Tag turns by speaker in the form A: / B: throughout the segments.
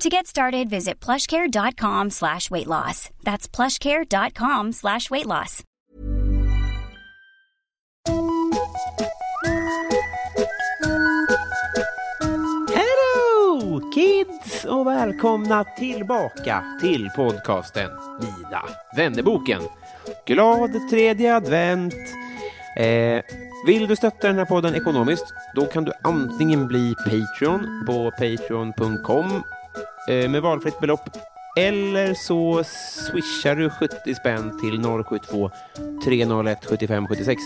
A: To get started, visit plushcare.com slash weight loss. That's plushcare.com slash weight loss.
B: Hello kids och välkomna tillbaka till podcasten Mina vännerboken. Glad tredje advent! Eh, vill du stötta den här podden ekonomiskt? Då kan du antingen bli Patreon på patreon.com eh, med valfritt belopp eller så swishar du 70 spänn till 072 301 75 76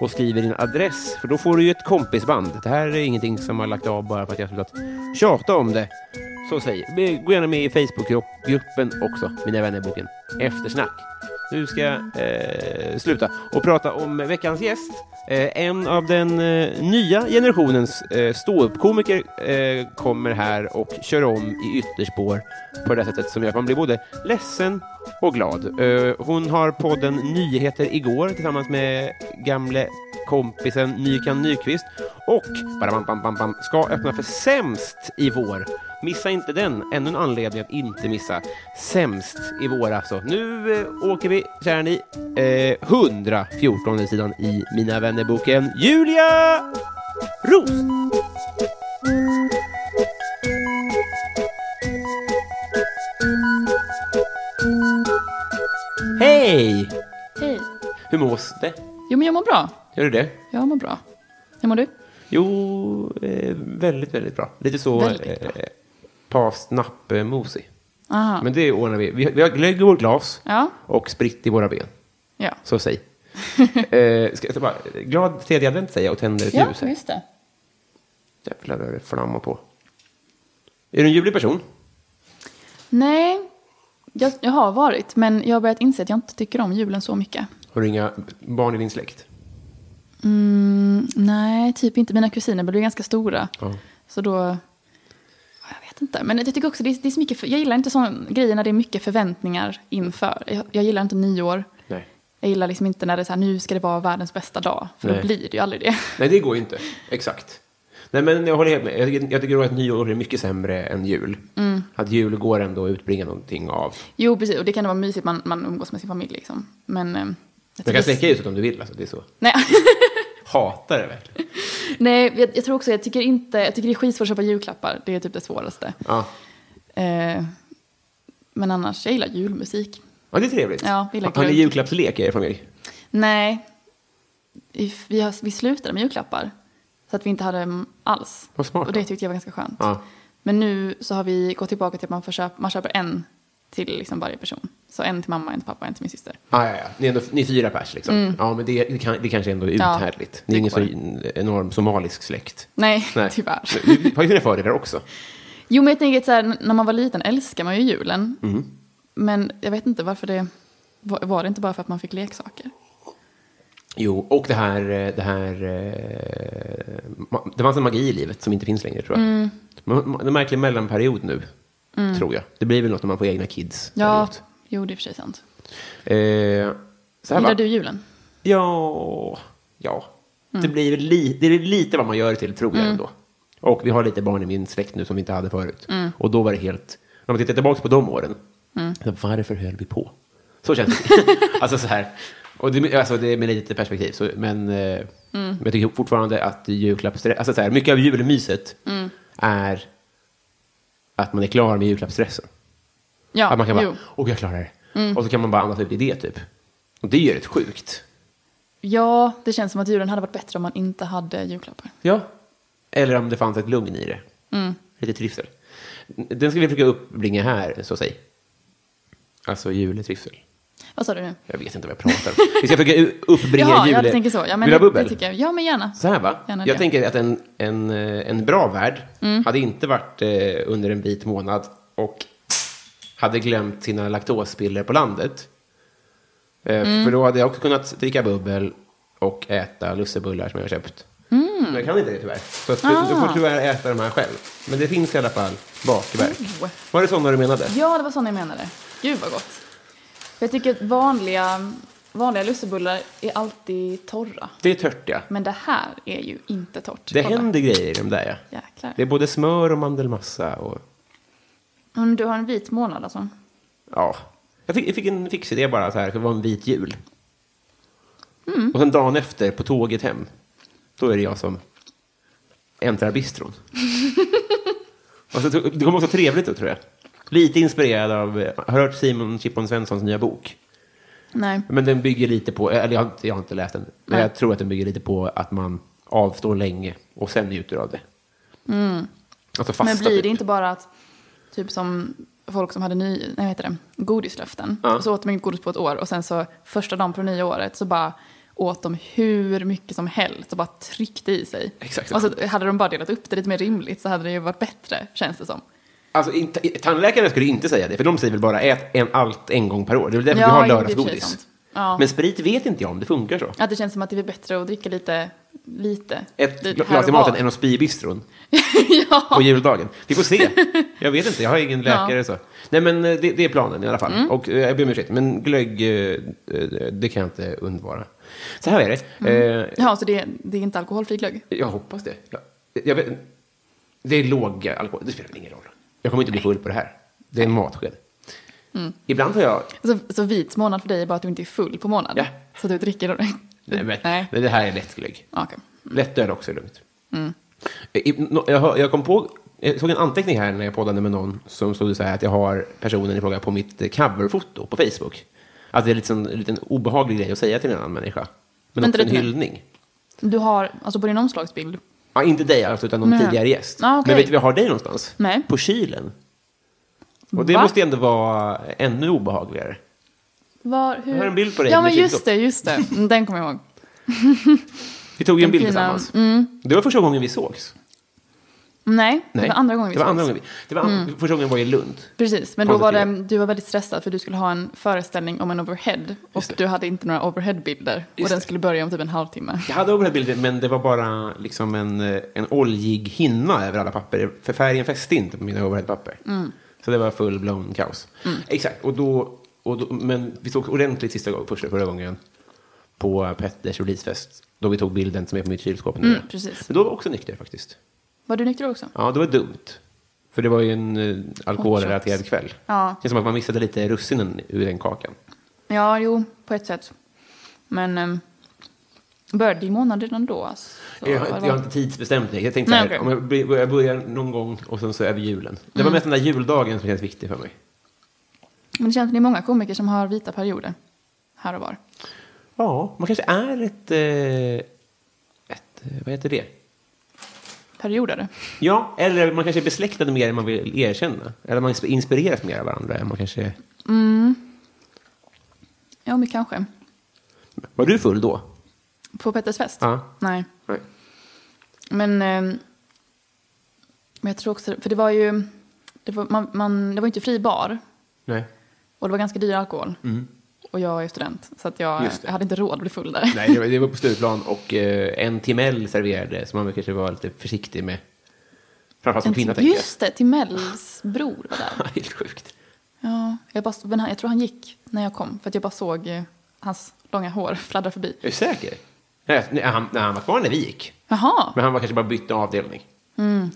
B: och skriver din adress för då får du ju ett kompisband. Det här är ingenting som har lagt av bara för att jag slutat tjata om det. Så säg, gå gärna med i Facebookgruppen också, Mina vänner-boken. Eftersnack. Nu ska jag eh, sluta och prata om veckans gäst. Eh, en av den eh, nya generationens eh, ståuppkomiker eh, kommer här och kör om i ytterspår på det här sättet som gör att man blir både ledsen och glad. Eh, hon har podden Nyheter igår tillsammans med gamle kompisen Nykan Nyqvist och badabam, bam, bam, bam, ska öppna för Sämst i vår. Missa inte den, ännu en anledning att inte missa Sämst i vår alltså. Nu eh, åker vi, kära ni, eh, 114 sidan i Mina vännerboken Julia Roos! Hej!
C: Hej.
B: Hur mås det?
C: Jo, men jag mår bra.
B: Gör du det?
C: Jag mår bra. Hur mår du?
B: Jo, eh, väldigt, väldigt bra. Lite så
C: Väldigt bra.
B: eh, pasnapp-mosig.
C: Aha.
B: Men det ordnar vi. Vi, vi har glögg i vårt glas
C: Ja.
B: och spritt i våra ben.
C: Ja.
B: Så säg. eh, ska jag ta bara, glad tredje advent säger jag och tänder ett
C: Ja,
B: ljus. här.
C: just det.
B: Jävlar vad det flammar på. Är du en ljuvlig person?
C: Nej, jag, jag har varit, men jag har börjat inse att jag inte tycker om julen så mycket.
B: Har du inga barn i din släkt?
C: Mm, nej, typ inte. Mina kusiner blir ju ganska stora.
B: Ja.
C: Så då... Jag vet inte. Men jag tycker också det är, det är så mycket... För, jag gillar inte sådana grejer när det är mycket förväntningar inför. Jag, jag gillar inte nyår.
B: Nej.
C: Jag gillar liksom inte när det är så här, nu ska det vara världens bästa dag. För
B: Nej.
C: då blir det ju aldrig det.
B: Nej, det går ju inte. Exakt. Nej, men jag håller helt med. Jag, tycker- jag tycker att nyår är mycket sämre än jul.
C: Mm.
B: Att jul går ändå att utbringa någonting av.
C: Jo, precis. Och det kan vara mysigt, man, man umgås med sin familj liksom. Men... ehm, jag
B: Du kan
C: tycker-
B: släcka ljuset om du vill. Alltså. Det är så.
C: Nej,
B: Hatar det verkligen.
C: Nej jag, jag tror också, jag tycker inte, jag tycker det är skitsvårt att köpa julklappar. Det är typ det svåraste.
B: Ja.
C: Eh, men annars, jag gillar julmusik.
B: ja, det är trevligt.
C: Ja, vi gillar
B: Har ni
C: glögg.
B: julklappslek i er familj?
C: Nej, vi, vi, har, vi slutade med julklappar. Så att vi inte hade mm, alls.
B: Vad smart
C: Och det
B: då.
C: tyckte jag var ganska skönt.
B: Ja.
C: Men nu så har vi gått tillbaka till att man, får köpa, man köper en till liksom varje person. Så en till mamma, en till pappa, en till min syster.
B: Ah, ja, ja. Ni, är ändå, ni är fyra pers liksom. Ja, men det, det, kan, det kanske ändå är
C: Mm. Ja,
B: uthärdligt. Ni är
C: det
B: ingen så
C: går.
B: enorm somalisk släkt.
C: Nej, tyvärr.
B: Du, du har ju dina fördelar också.
C: Jo, men jag tänker att så här, n- när man var liten älskade man ju julen.
B: Mm.
C: Men jag vet inte varför det... Var, var det inte bara för att man fick leksaker?
B: Jo, och det här... eh, Det, här, eh, ma- det fanns en magi i livet som inte finns längre, tror jag.
C: Mm.
B: Man- man- Det är en märklig mellanperiod nu, tror jag. Det blir väl något när man får egna kids.
C: Ja,
B: däremot.
C: jo det är i och för sig sant.
B: Eh, så här, va?
C: Gillar du julen?
B: Ja, ja. Det, blir väl li, det är lite vad man gör det till, tror
C: Mm.
B: jag ändå. Och vi har lite barn i min släkt nu som vi inte hade förut.
C: Mm.
B: Och då var det helt... När man tittar tillbaka på de åren, så varför höll vi på? Så känns det. alltså så här. Och det, alltså det är med lite perspektiv, så, men, eh,
C: Mm.
B: men jag tycker fortfarande att julklappsstress, alltså så här, mycket av julmyset
C: Mm.
B: är att man är klar med julklappsstressen.
C: Ja,
B: Att man kan bara,
C: jo. Mm.
B: åh jag klarar det. Och så kan man bara andas ut i det typ. Och det är ju rätt sjukt.
C: Ja, det känns som att julen hade varit bättre om man inte hade julklappar.
B: Ja. Eller om det fanns ett lugn i det.
C: Mm.
B: Lite trivsel. Den ska vi försöka uppbringa här, så att säga. Alltså juletrivsel.
C: Vad sa du nu?
B: Jag vet inte vad jag pratar om. Vi ska försöka u- uppbringa
C: Jaha,
B: jule...
C: jag tänker så. Ja, men
B: Vill du ha
C: det,
B: bubbel?
C: det tycker jag. Ja, men gärna.
B: Så här va?
C: Gärna
B: jag
C: det. Mm.
B: tänker att en, en, eh, en bra värld hade inte varit eh, under en vit månad och hade glömt sina laktospiller på landet. Eh,
C: Mm.
B: För då hade jag också kunnat dricka bubbel och äta lussebullar som jag har köpt. Men jag kan inte det tyvärr. Så att, du, du får
C: Mm. Ah.
B: tyvärr äta de här själv. Men det finns i alla fall bakverk.
C: Oh.
B: Var det sådana du menade?
C: Ja, det var sådana jag menade. Gud vad gott. För jag tycker att vanliga, vanliga lussebullar är alltid torra.
B: Det är tört ja.
C: Men det här är ju inte torrt.
B: Det
C: Kolla.
B: händer grejer i de där ja.
C: Jäklar.
B: Det är både smör och mandelmassa och...
C: Mm, Du har en vit månad alltså.
B: Ja. Jag fick, jag fick en fix idé bara så här, det var en vit jul.
C: Mm.
B: Och sen dagen efter, på tåget hem, då är det jag som äntrar bistron. och så, tog- det kommer också trevligt ut, tror jag. Lite inspirerad av, eh, har hört Simon Chippon Svenssons nya bok.
C: Nej.
B: Men den bygger lite på, eller jag, har inte- jag har inte läst den, men
C: Nej.
B: jag tror att den bygger lite på att man avstår länge och sen njuter av det. Alltså fasta
C: Mm. Men blir
B: typ.
C: det inte bara att, typ som folk som hade ny, nej, vad heter det, godislöften.
B: Ja.
C: Och så åt de inte godis på ett år och sen så första dagen på det nya året så bara åt de hur mycket som helst och bara tryckte i sig.
B: Exakt.
C: Och så hade de bara delat upp det lite mer rimligt så hade det ju varit bättre, känns det som.
B: Alltså, inte, tandläkarna skulle inte säga det, för de säger väl bara ät en, allt en gång per år. Det är väl därför
C: Ja,
B: vi har
C: jo, det är i och för sig
B: lördagsgodis.
C: sant. Ja.
B: Men sprit vet inte jag om det funkar så.
C: Att det känns som att det är bättre att dricka lite, lite.
B: Ett
C: lite här
B: glas i
C: och var.
B: maten än att spy i bistron
C: ja.
B: på juldagen. Vi får se. Jag vet inte, jag har ingen läkare. Så. Nej, men eh, det, det är planen i alla fall.
C: Mm.
B: Och eh, jag ber om ursäkt, men glögg, eh, eh, det kan jag inte undvara. Så här är det. Eh,
C: Jaha, så det, det är inte alkoholfri glögg?
B: Jag hoppas det. Jag, jag vet, det är låg alkohol, det spelar väl ingen roll. Jag kommer inte bli full på det här. Det är en matsked.
C: Mm.
B: Ibland har jag
C: Så, så vit månad för dig är bara att du inte är full på månaden?
B: Ja.
C: Så du dricker då?
B: Nej, men,
C: Nej.
B: nej. det här är lättglögg.
C: Ja, Okej.
B: Lättöl också är lugnt.
C: Mm.
B: Eh, I- no- Jag, hör- jag kom på, jag såg en anteckning här när jag poddade med någon som stod så här att jag har personen i fråga på mitt eh, coverfoto på Facebook. Att det är liksom, en liten obehaglig grej att säga till en annan människa. Men också
C: Vänta
B: en
C: lite nu.
B: hyllning.
C: Du har, alltså på din omslagsbild,
B: Ja, inte dig alltså, utan någon
C: Nej.
B: tidigare gäst.
C: Ja, okej.
B: Men vet du var jag har dig någonstans?
C: Nej.
B: På kylen. Och det
C: Va?
B: måste ändå vara ännu obehagligare.
C: var, hur?
B: Jag har en bild på dig
C: Ja,
B: med
C: men just
B: kylskåp.
C: det, just det. Mm, Den kommer jag ihåg.
B: Vi tog ju en
C: Den
B: bild
C: fina-
B: tillsammans. Det var första gången vi sågs.
C: Nej, det var andra gången vi
B: det var
C: sågs. Mm.
B: andra gången vi det var an- Första gången var i Lund.
C: Precis, men då var
B: Konstigt
C: det, du var väldigt stressad för du skulle ha en föreställning om en overhead och
B: Just det.
C: du hade inte några overheadbilder och
B: Just
C: den
B: det. Mm.
C: skulle börja om typ en halvtimme.
B: Jag hade overheadbilder, men det var bara liksom en, eh, en oljig hinna över alla papper. För färgen fäste inte på mina overheadpapper.
C: Mm.
B: Så det var full-blown kaos. Exakt, och då, och då, men vi såg ordentligt sista gången, första, förra gången på Petters releasefest. Då vi tog bilden som är på mitt kylskåp nu.
C: Mm, precis.
B: Men då var jag också nykter faktiskt.
C: Var du nykter också?
B: Ja, det var dumt. För det var ju en eh, alkoholrelaterad
C: Hot shots.
B: kväll.
C: Ja.
B: Det känns som att man missade lite russinen ur den kakan.
C: Ja, jo, på ett sätt. Men um, började i månaden redan då? Alltså,
B: Jag, har-
C: Eller?
B: jag har inte tidsbestämt mig. Jag tänkte
C: Nej,
B: så här,
C: okej. Mm.
B: om jag blir- jag börjar någon gång och sen så över julen. Det var mest den där juldagen som känns viktig för mig.
C: Men det känns som det är många komiker som har vita perioder. Här och var.
B: Ja, man kanske är ett... eh, ett eh, vad heter det?
C: Perioder.
B: Ja, eller man kanske är besläktade mer än man vill erkänna. Eller man inspireras mer av varandra än man kanske...
C: Ja, men kanske.
B: Var du full då?
C: På Petters fest?
B: Ja.
C: Nej.
B: Nej.
C: Men, eh, men jag tror också, för det var ju, det var, man, man, det var ju inte fri bar
B: Nej.
C: och det var ganska dyr alkohol. Och jag är student så att jag,
B: Mm. Just det.
C: jag hade inte råd att bli full där.
B: Nej, det var, det var på Stureplan och eh, en Timell serverade som man kanske var lite försiktig med. Framförallt som kvinna, tänker jag.
C: Just det, Timells bror var där.
B: Helt sjukt.
C: Ja, jag, bara, men han, jag tror han gick när jag kom för att jag bara såg eh, hans långa hår fladdra förbi.
B: Är du säker? Nej, nej, han, nej, han var kvar när vi gick.
C: Jaha!
B: Men han var kanske bara bytte avdelning.
C: Mm.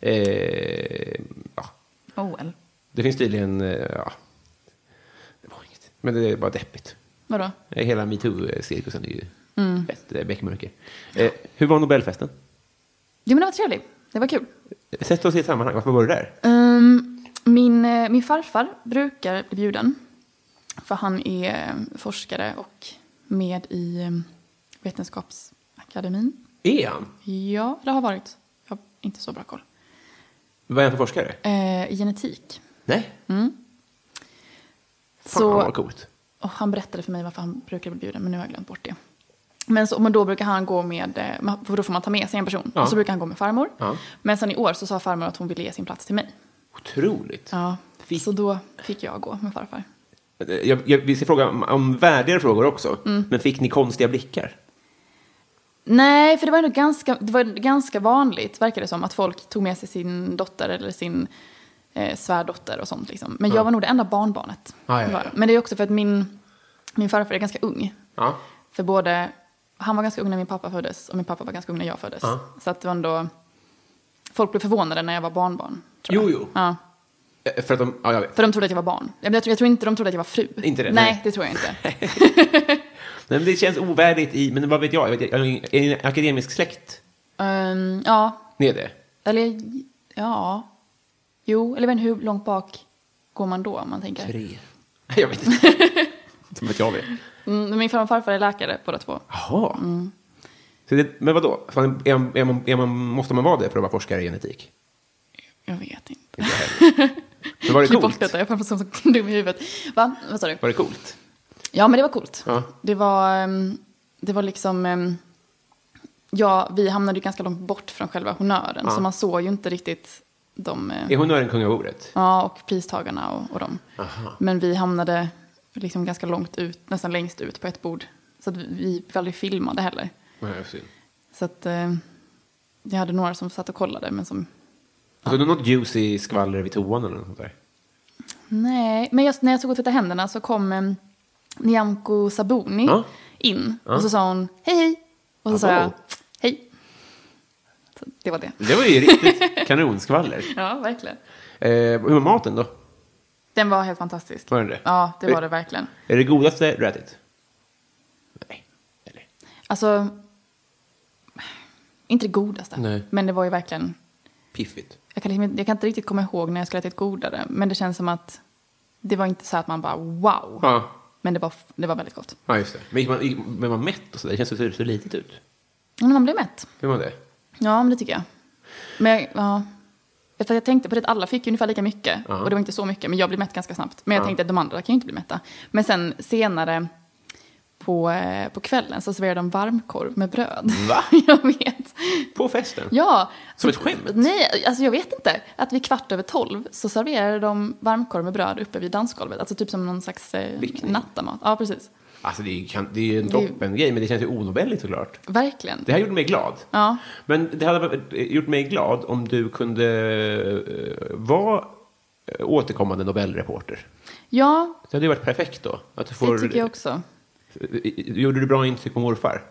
B: Eh, ja.
C: OL.
B: Det finns tydligen... eh, Ja. Det var inget. Men det är bara deppigt.
C: Vadå?
B: Eh, Hela metoo-cirkusen är ju
C: Mm.
B: ett eh, bäckmörker. Eh, hur var Nobelfesten?
C: Jo men det var trevligt. Det var kul.
B: Sätt oss i ett sammanhang. Varför var du där?
C: Ehm, min, eh, min farfar brukar bli bjuden. För han är eh, forskare och med i eh, Vetenskapsakademin.
B: Är han?
C: Ja, det har varit. Jag har inte så bra koll.
B: Vad är han för forskare?
C: Eh, i genetik.
B: Nej. Fan
C: Så-
B: vad coolt.
C: Och han berättade för mig varför han brukade bli bjuden, men nu har jag glömt bort det. Men, så, men då brukar han gå med, eh, man- för då får man ta med sig en person.
B: Ja.
C: Och så brukar han gå med farmor.
B: Ja.
C: Men sen i år så sa farmor att hon ville ge sin plats till mig.
B: Otroligt.
C: Ja,
B: Fick-
C: så då fick jag gå med farfar.
B: Eh, Jag, jag, vi ska fråga om, om värdigare frågor också.
C: Mm.
B: Men fick ni konstiga blickar?
C: Nej, för det var ändå ganska, det var ganska vanligt, verkar det som, att folk tog med sig sin dotter eller sin eh, svärdotter och sånt. Liksom. Men jag var nog det enda barnbarnet.
B: Ah, Ja, ja, ja.
C: Var- Men det är också för att min, min farfar är ganska ung.
B: Ja.
C: För både, han var ganska ung när min pappa föddes och min pappa var ganska ung när jag föddes.
B: Ja.
C: Så att det var ändå, folk blev förvånade när jag var barnbarn. Tror
B: Jo,
C: jag.
B: jo.
C: Ja,
B: Eh, För att de, ja, jag vet.
C: för de trodde att jag var barn. Jag, jag, tror, jag tror inte de trodde att jag var fru.
B: Inte det,
C: Nej,
B: nej.
C: det tror jag inte.
B: Nej, men det känns ovärdigt i, men vad vet jag? Jag, vet, jag har ingen- är en akademisk släkt.
C: Ehm, ja,
B: Ni är det?
C: Eller ja. Jo, eller men hur långt bak går man då om man tänker?
B: Tre. Nej, Jag vet inte. Som att jag vet.
C: Mm, min farmor och farfar är läkare båda två.
B: Jaha. Så det, men vadå? Fan, är man, är man, är man, måste man vara det för att vara forskare i genetik?
C: Jag vet inte.
B: Inte jag heller. Men var det
C: Klipp bort
B: coolt?
C: detta, jag framstår som så dum i huvudet. Va? Vad sa du?
B: Var det coolt?
C: Ja, men det var coolt.
B: Ja.
C: Det, var, ehm, det var liksom... ehm, Ja, vi hamnade ju ganska långt bort från själva honören,
B: Ja.
C: så man såg ju inte riktigt de... eh,
B: Är honören kung av ordet?
C: Ja, och pristagarna och, och dem.
B: Aha.
C: Men vi hamnade liksom ganska långt ut, nästan längst ut på ett bord. Så att vi, vi blev aldrig filmade heller.
B: Nej, vad synd.
C: Så att eh, jag hade några som satt och kollade, men som...
B: Alltså, det är något ljus i skvaller vid toan eller något sånt där?
C: Nej, men just när jag stod och tvättade händerna så kom eh, Nyamko Sabuni
B: Ja.
C: in.
B: Ja.
C: Och så sa hon hej, hej. Och så sa
B: Hallå.
C: jag hej. Så det var det.
B: Det var ju riktigt kanonskvaller.
C: Ja, verkligen.
B: Eh, hur var maten då?
C: Den var helt fantastisk.
B: Var den det?
C: Ja, det var det verkligen.
B: Är det godaste du ätit? Nej. Eller?
C: Alltså, inte det godaste.
B: Nej.
C: Men det var ju verkligen...
B: Piffigt.
C: Jag kan, liksom, inte- jag kan inte riktigt komma ihåg när jag skulle ha ätit godare. Men det känns som att det var inte så att man bara wow.
B: Ja,
C: Men det var, det var väldigt gott.
B: ja just det. Men gick man, gick, blev man mätt och sådär? Det känns så, så, så litet ut.
C: Men man blev mätt.
B: Hur var det?
C: Ja, men det tycker jag. Men jag, ja. Vet du, jag tänkte på det att alla fick ju ungefär lika mycket.
B: Ja.
C: Och det var inte så mycket, men jag blev mätt ganska snabbt. Men jag
B: Ja.
C: tänkte att de andra kan ju inte bli mätta. Men sen senare på, eh, på kvällen så serverade de varmkorv med bröd.
B: Va?
C: jag vet.
B: På festen?
C: Ja.
B: Som ett skämt?
C: Nej, alltså jag vet inte. Att vid kvart över tolv så serverade de varmkorv med bröd uppe vid dansgolvet. Alltså typ som någon slags eh,
B: Vickning.
C: nattamat. Ja, precis.
B: Alltså det är ju kan- det är ju en
C: Det är ju-
B: toppen grej men det känns ju onobelligt såklart.
C: Verkligen.
B: Det här gjorde mig glad.
C: Ja.
B: Men det hade varit- gjort mig glad om du kunde eh, vara eh, återkommande Nobelreporter.
C: Ja,
B: Det hade ju varit perfekt då. Att du
C: det
B: får,
C: tycker jag också.
B: Gjorde du bra intryck på morfar?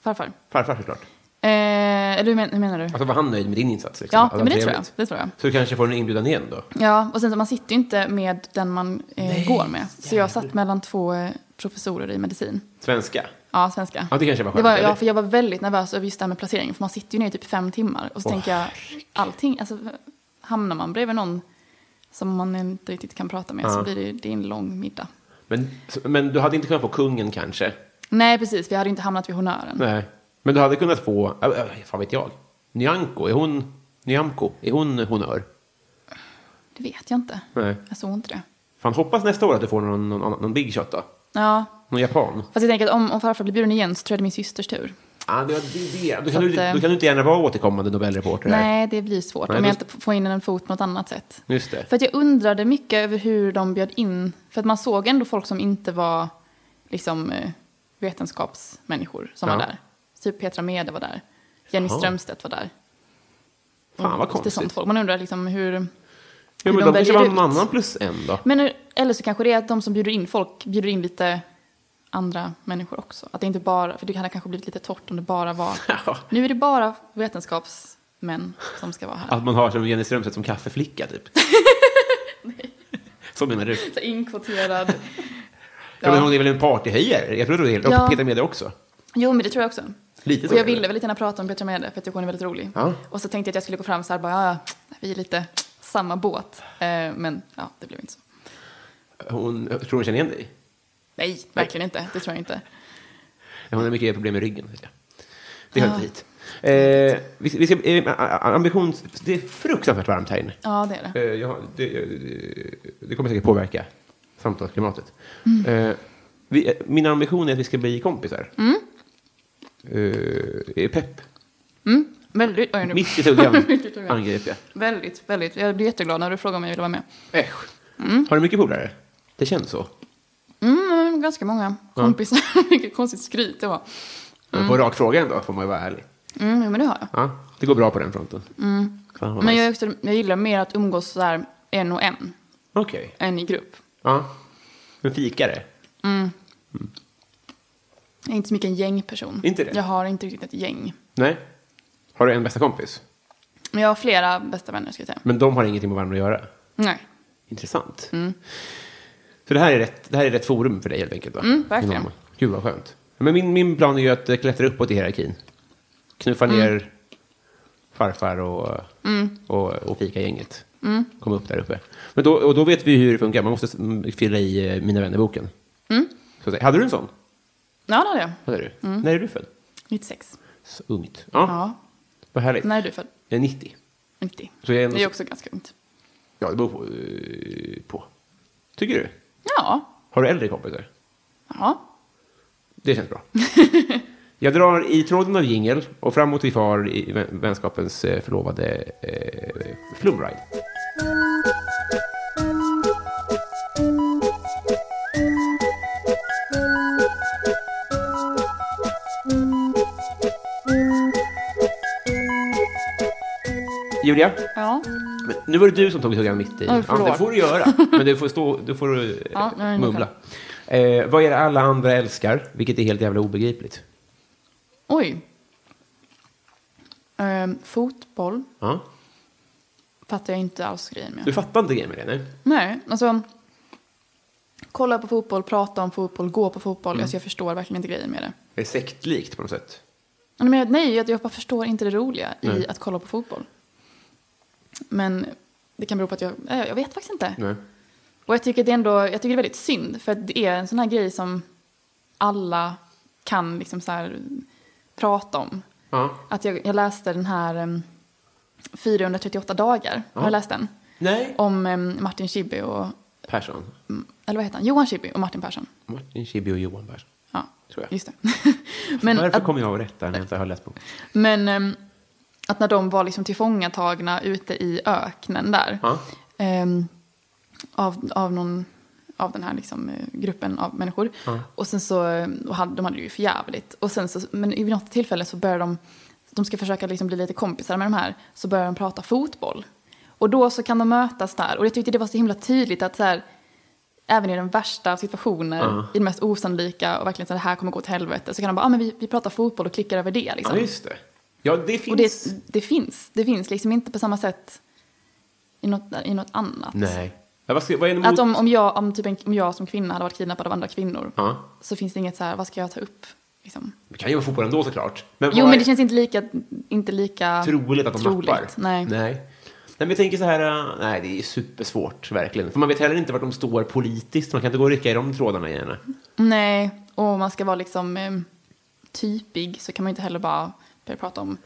C: Farfar.
B: Farfar såklart.
C: Eh, eller hur, men, hur menar du?
B: Alltså var han nöjd med din insats? Liksom?
C: Ja,
B: Att
C: men
B: var
C: det tror, jag,
B: trevligt?
C: det tror jag.
B: Så du kanske får en inbjudan igen då?
C: Ja, och sen så man sitter ju inte med den man
B: Nej,
C: eh, går med. Så jag satt mellan två eh, professorer i medicin.
B: Svenska?
C: Ja, svenska.
B: Ja, det kanske var
C: det
B: skönt.
C: var,
B: eller?
C: ja, för jag var väldigt nervös över just det här med placeringen. För man sitter ju ner i typ fem timmar. Och så
B: Åh,
C: tänker jag, allting, alltså hamnar man bredvid någon som man inte riktigt kan prata med
B: Ja.
C: så blir det, ju- det är en lång middag.
B: men, men du hade inte kunnat få kungen kanske?
C: Nej, precis. Vi hade ju inte hamnat vid honören.
B: Nej. Men du hade kunnat få, äh, äh, fan vet jag, Nyamko, är hon, Nyamko, är hon honör?
C: Det vet jag inte.
B: Nej.
C: Jag såg inte det.
B: Fan, hoppas nästa år att du får någon, någon, annan- någon big shot då.
C: Ja,
B: Någon japan.
C: fast jag tänker att om, om farfar blir bjuden igen så tror jag det är min systers tur.
B: Ah, det, det, det. Då, kan
C: Så
B: du,
C: att, eh,
B: då kan du inte gärna vara återkommande Nobelreporter här.
C: Nej, det blir svårt
B: Nej,
C: om
B: då-
C: jag inte får in en fot på något annat sätt.
B: Just det.
C: För att jag undrade mycket över hur de bjöd in. För att man såg ändå folk som inte var liksom, eh, vetenskapsmänniskor som
B: Ja.
C: var där. Typ Petra Mede var där. Jenny
B: Jaha.
C: Strömstedt var där.
B: Fan vad
C: Och lite sånt
B: konstigt.
C: folk. Man undrar liksom hur...
B: Ja, men
C: hur
B: då kanske
C: de väljer
B: var en
C: ut.
B: annan plus en då.
C: Men, hur- eller så kanske det är att de som bjuder in folk bjuder in lite andra människor också. Att det inte bara... För det hade kanske blivit lite torrt om det bara var...
B: Ja.
C: Nu är det bara vetenskapsmän som ska vara här.
B: Att man har som Jenny Strömstedt som kaffeflicka typ. Så menar du? Ja.
C: Så inkvoterad.
B: men hon är väl en partyhöjare? Jag tror det är
C: Ja.
B: Och Peter Mede också.
C: Jo, men det tror jag också.
B: Lite
C: och
B: så är
C: jag
B: det.
C: ville väldigt gärna prata om Petra Mede, för jag tycker hon är väldigt rolig.
B: Ja.
C: Och så tänkte jag att jag skulle gå fram så här bara, ja, ja, vi är lite samma båt. Eh, men ja, det blev inte så.
B: Hon, jag tror hon känner igen dig.
C: Nej, verkligen inte. Det tror jag inte.
B: Hon har mycket problem med ryggen. vet jag. Det hör inte hit. Eh, vi, vi ska, eh, ambitions... Det är fruktansvärt varmt här inne.
C: Ja, det är det.
B: Eh, jag, har- det, eh, det kommer säkert påverka samtalsklimatet.
C: Mm.
B: Eh, vi, eh, min ambition är att vi ska bli kompisar. Eh, är pepp.
C: Mm, väldigt, oj, nu.
B: Mitt i tuggan
C: Mitt i tuggan.
B: angrep jag.
C: väldigt, väldigt. Jag blir jätteglad när du frågar om jag vill vara med.
B: Äsch. Mm. Har du mycket polare? Det känns så.
C: Mm, ganska många kompisar. Vilket konstigt skryt det var.
B: Men På rak fråga ändå, får man ju vara ärlig.
C: Mm, jo, men det har jag.
B: Ja, det går bra på den fronten. Fan, vad
C: Mm. Men
B: nice.
C: jag, är också, jag gillar mer att umgås så här en och en,
B: Okej.
C: än i grupp.
B: Ja. En fikare.
C: Jag är inte så mycket en gängperson.
B: Inte det?
C: Jag har inte riktigt ett gäng.
B: Nej. Har du en bästa kompis?
C: Men jag har flera bästa vänner, ska jag säga.
B: Men de har ingenting med varandra att göra.
C: Nej.
B: Intressant.
C: Mm.
B: Så det här, är rätt, det här är rätt forum för dig helt enkelt? Va?
C: Mm, verkligen.
B: Enorma. Gud vad skönt. Men min, min plan är ju att eh, klättra uppåt i hierarkin. Knuffa
C: Mm.
B: ner farfar och, och, och fika-gänget.
C: Mm.
B: Komma upp där uppe. Men då, och då vet vi hur det funkar. Man måste mm, fylla i eh, Mina vänner-boken.
C: Mm.
B: Så att säga. Hade du en sån?
C: Ja, det hade jag.
B: Vad är du? När är du född?
C: 96.
B: Så ungt. Ja,
C: Mm. Ja.
B: vad härligt.
C: När är du född?
B: Jag är 90.
C: 90.
B: Så jag är ändå-
C: Det är också ganska ungt.
B: Ja, det beror på. eh, på. Tycker du?
C: Ja.
B: Har du äldre kompisar?
C: Ja.
B: Det känns bra. Jag drar i tråden av jingel och framåt vi far i vä- vänskapens eh, förlovade eh, flumride. Julia,
C: Ja.
B: men nu var det du som tog tuggan mitt i.
C: Ja, förlåt.
B: det får du göra, men du får, stå, du får eh,
C: Ja, jag är ungefär.
B: mumla. Eh, vad är det alla andra älskar, vilket är helt jävla obegripligt?
C: Oj. Ehm, fotboll
B: Ja.
C: fattar jag inte alls grejen med.
B: Du fattar inte grejen med det, nej?
C: Nej, alltså. Kolla på fotboll, prata om fotboll, gå på fotboll.
B: Mm.
C: Alltså, jag förstår verkligen inte grejen med det.
B: Det är sektlikt på något sätt.
C: Men jag- nej, jag, jag bara förstår inte det roliga
B: Nej.
C: i att kolla på fotboll. Men det kan bero på att jag, nej, jag vet faktiskt inte.
B: Nej.
C: Och jag tycker det är ändå, jag tycker det är väldigt synd. För att det är en sån här grej som alla kan liksom så här prata om.
B: Ja.
C: Att jag, jag läste den här em, 438 dagar, har
B: Ja.
C: du läst den?
B: Nej.
C: Om em, Martin Schibbye och,
B: Persson.
C: eller vad heter han, Johan Schibbye och Martin Persson.
B: Martin Schibbye och Johan Persson.
C: Ja,
B: Tror jag.
C: just det.
B: Varför
C: att-
B: kommer jag att rätta när jag inte har läst boken?
C: Men ehm, att när de var liksom tillfångatagna ute i öknen där.
B: Ja.
C: ehm, av, av någon av den här liksom, eh, gruppen av människor. Och sen så, eh, och hade, de hade det ju för jävligt. Och sen så, men vid något tillfälle så börjar de, de ska försöka liksom bli lite kompisar med de här, så börjar de prata fotboll. Och då så kan de mötas där. Och jag tyckte det var så himla tydligt att så här, även i den värsta situationer,
B: Ja.
C: i de mest osannolika och verkligen så här, det här kommer gå åt helvete, så kan de bara, ah, men vi, vi pratar fotboll och klickar över det. Liksom.
B: Ja, just det. Ja, det finns.
C: Och det, det finns. Det finns liksom inte på samma sätt i något, i något annat.
B: Nej. Ja, vad, ska, vad är det mot...
C: Att om, om, jag, om, typ en, om jag som kvinna hade varit kidnappad av andra kvinnor
B: Ja.
C: så finns det inget så här, vad ska jag ta upp? Liksom.
B: Det kan ju vara fotboll ändå såklart. Men
C: Jo,
B: vad
C: men
B: är-
C: det känns inte lika... Inte lika
B: troligt att de
C: troligt.
B: nappar.
C: Nej.
B: nej. Nej, men jag tänker så här, äh, nej det är supersvårt verkligen. För man vet heller inte vart de står politiskt, man kan inte gå och rycka i de trådarna gärna.
C: Nej, och om man ska vara liksom eh, typig så kan man ju inte heller bara börja prata om,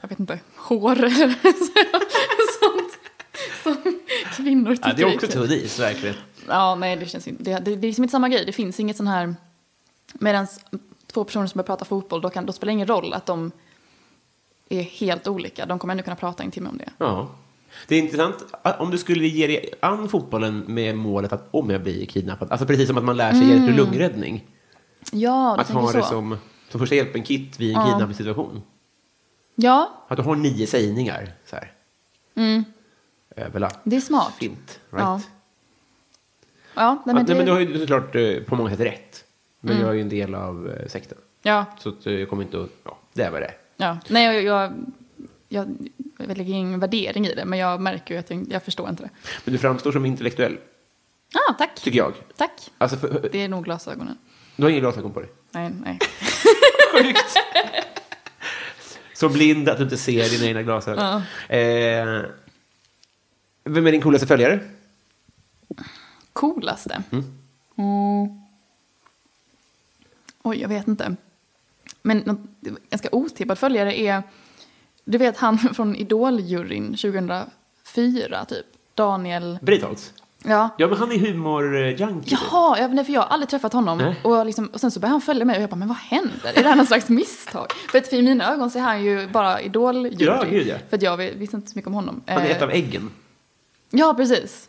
C: jag vet inte, hår eller så- sånt som kvinnor tycker
B: Ja, det är också
C: äckligt.
B: tudis, verkligen.
C: Ja, nej, det känns inte. Det, det, det är liksom inte samma grej. Det finns inget sån här... Medan två personer som börjar prata fotboll, då, kan, då spelar det ingen roll att de är helt olika. De kommer ändå kunna prata en timme om det.
B: Ja. Det är intressant att om du skulle ge dig an fotbollen med målet att om jag blir kidnappad, alltså precis som att man lär sig hjälp och lungräddning,
C: Mm. Ja, du
B: att ha
C: tänker
B: det
C: så.
B: som, som första hjälpen-kit vid en kidnappningssituation.
C: Ja,
B: Att du har nio sägningar så här. Överlapp.
C: Mm. Det är smart.
B: Fint, right?
C: Ja. ja,
B: ja,
C: nej, men
B: nej,
C: det, Mm.
B: men du har ju såklart eh, på många sätt rätt. Men jag är ju en del av eh, sekten.
C: ja,
B: Så att, eh, jag kommer inte att... Ja, det var det.
C: ja. Nej, jag, jag, jag, jag lägger ingen värdering i det, men jag märker ju att jag, jag förstår inte det.
B: Men du framstår som intellektuell,
C: Ah, tack.
B: tycker jag.
C: Tack.
B: Alltså, för,
C: Det är nog glasögonen.
B: du har inga glasögon på dig.
C: Nej, nej.
B: Sjukt! Så blind att du inte ser dina egna glasögon. Eh, vem är din coolaste följare?
C: Coolaste? Mm. Oj, jag vet inte. Men något ganska otippad följare är, du vet han från Idol-juryn 2004 typ, Daniel...
B: Britholtz?
C: Ja.
B: Ja, men han är humorjunkie. typ.
C: Jaha, ja, nej, för jag har aldrig träffat honom.
B: Nej.
C: Och, jag liksom, och sen så började han följa mig och jag bara, men vad händer? Är det här någon slags misstag? För att i mina ögon så är han ju bara idol
B: Ja, gud, ja.
C: För att jag vet- visste inte så mycket om honom.
B: Han är
C: Eh,
B: ett av äggen.
C: Ja, precis.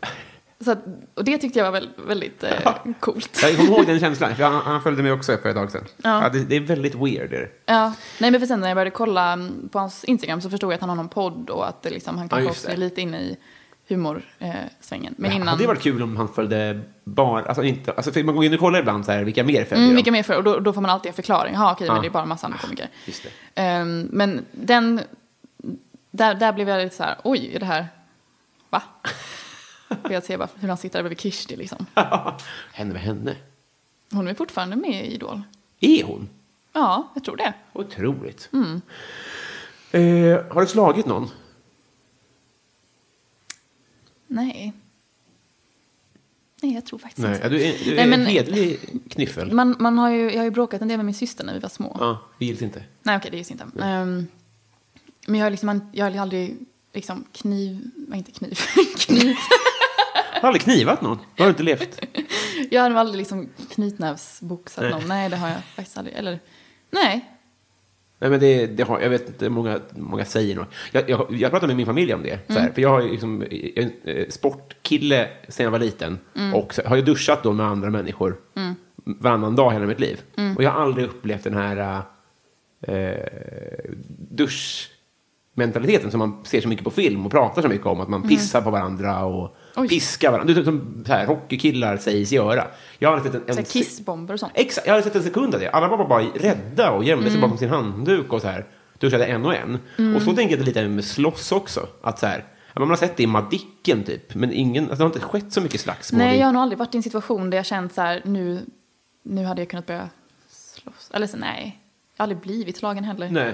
C: Så att, och det tyckte jag var väl, väldigt eh, coolt.
B: Jag kommer ihåg den känslan, för han, han följde mig också för ett tag sedan.
C: Ja.
B: det, det är väldigt weird. Är det.
C: Ja. Nej, men för sen när jag började kolla mm, på hans Instagram så förstod jag att han har någon podd och att det liksom, han kanske
B: just
C: också
B: det.
C: är lite inne i humorsvängen. Eh, svängen. men
B: Men
C: innan...
B: hade det varit kul om han följde bara, alltså inte, alltså för man går in och kollar ibland så här, vilka mer följer
C: Mm,
B: dem.
C: vilka mer för, och då, då får man alltid en förklaring. Ja, okej,
B: Ja. Ah,
C: men det är bara en massa andra komiker.
B: Just det.
C: Ehm, men den, där, där blev jag lite så här, oj, är det här, va? Och jag ser bara hur han sitter där bredvid Kirsti liksom.
B: henne med henne?
C: Hon är fortfarande med i Idol.
B: Är hon?
C: Ja, jag tror det.
B: Otroligt. Eh, har du slagit någon?
C: Nej. Nej, jag tror faktiskt
B: Nej,
C: inte.
B: ja, du är, du är
C: Nej, men- Mm.
B: en hederlig knyffel.
C: Man, man har ju, jag har ju bråkat en del med min syster när vi var små.
B: Ja, vi gills inte.
C: Nej, okej, det är ju inte. Ehm, men jag har liksom, jag har aldrig liksom kniv, nej, inte kniv, kniv.
B: Har du aldrig knivat någon? Då har du inte levt.
C: Jag har nog aldrig liksom knytnävsboxat
B: Nej.
C: någon. Nej, det har jag faktiskt aldrig. Eller, nej.
B: Nej, men det, det har, jag vet inte, många, många säger nog. Jag, jag, jag pratade med min familj om det. Så
C: Mm.
B: här, För jag har ju liksom, jag är en eh, sportkille sen jag var liten.
C: Mm.
B: Och så, har ju duschat då med andra människor varannan dag hela mitt liv.
C: Mm.
B: Och jag har aldrig upplevt den här eh, duschmentaliteten som man ser så mycket på film och pratar så mycket om. Att man pissar på varandra och
C: Mm. Oj.
B: piskar varandra. Det är typ som så här, hockeykillar sägs göra. Jag har aldrig sett en,
C: Så
B: en
C: här kissbomber och sånt.
B: Exakt, jag hade sett en sekund av det. Alla var bara rädda och gömde
C: Mm.
B: sig bakom sin handduk och så här. Duschade en och en. Och så tänker jag lite med slåss också. Att så här, ja, man har sett det i Madicken typ, men ingen, alltså, det har inte skett så mycket slagsmål.
C: Nej,
B: i-
C: jag har nog aldrig varit i en situation där jag känt så här, nu, nu hade jag kunnat börja slåss. Eller så nej. Jag har aldrig blivit slagen heller.
B: Nej.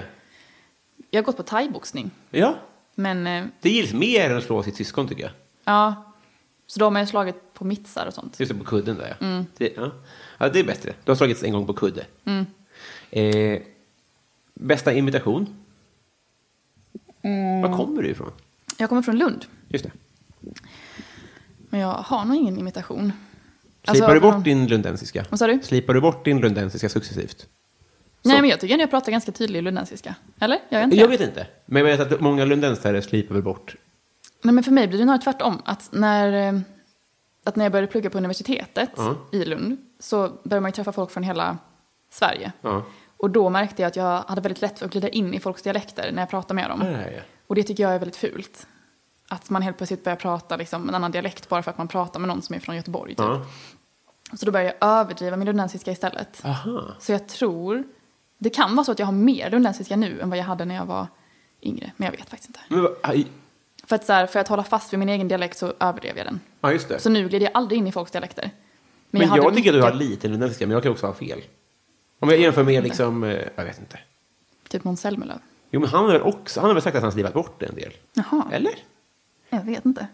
C: Jag har gått på thaiboxning.
B: Ja,
C: Men, eh,
B: det gills mer än att slå sitt syskon tycker jag.
C: ja. Så de har jag slagit på mittsar och sånt.
B: Just det, på kudden där ja.
C: Mm.
B: Det, ja. ja, det är bättre. Du har slagits en gång på kudde. Eh, bästa imitation?
C: Mm.
B: Var kommer du ifrån?
C: Jag kommer från Lund.
B: Just det.
C: Men jag har nog ingen imitation.
B: Slipar
C: Alltså,
B: du
C: någon-
B: bort din lundensiska?
C: Vad sa du?
B: Slipar du bort din lundensiska successivt?
C: Nej,
B: Så-
C: men jag tycker ändå jag pratar ganska tydlig lundensiska. Eller? Gör jag inte
B: Jag
C: det?
B: vet inte. Men jag vet att många lundensare slipar väl bort.
C: Nej, men för mig blir det nog tvärtom. Att när, eh, att när jag började plugga på universitetet
B: Ja.
C: i Lund så började man ju träffa folk från hela Sverige.
B: Ja.
C: Och då märkte jag att jag hade väldigt lätt för att glida in i folks dialekter när jag pratade med dem.
B: Ja, ja, ja.
C: Och det tycker jag är väldigt fult. Att man helt plötsligt börjar prata liksom en annan dialekt bara för att man pratar med någon som är från Göteborg. Typ.
B: Ja.
C: Så då började jag överdriva min lundensiska istället.
B: Aha.
C: Så jag tror, det kan vara så att jag har mer lundensiska nu än vad jag hade när jag var yngre. Men jag vet faktiskt inte.
B: Men, vad- aj.
C: För att, så här, för att hålla fast vid min egen dialekt så överdrev jag den.
B: ja, just det.
C: Så nu glider jag aldrig in i folks dialekter.
B: men jag,
C: hade typ
B: tycker att du har
C: mycket-
B: lite lundensiska, men jag kan också ha fel. Om jag jämför med liksom, eh, jag vet inte.
C: Typ Måns Zelmerlöw.
B: Jo, men han har väl också, han har väl sagt att han slipat bort en del?
C: Jaha.
B: Eller?
C: Jag vet inte.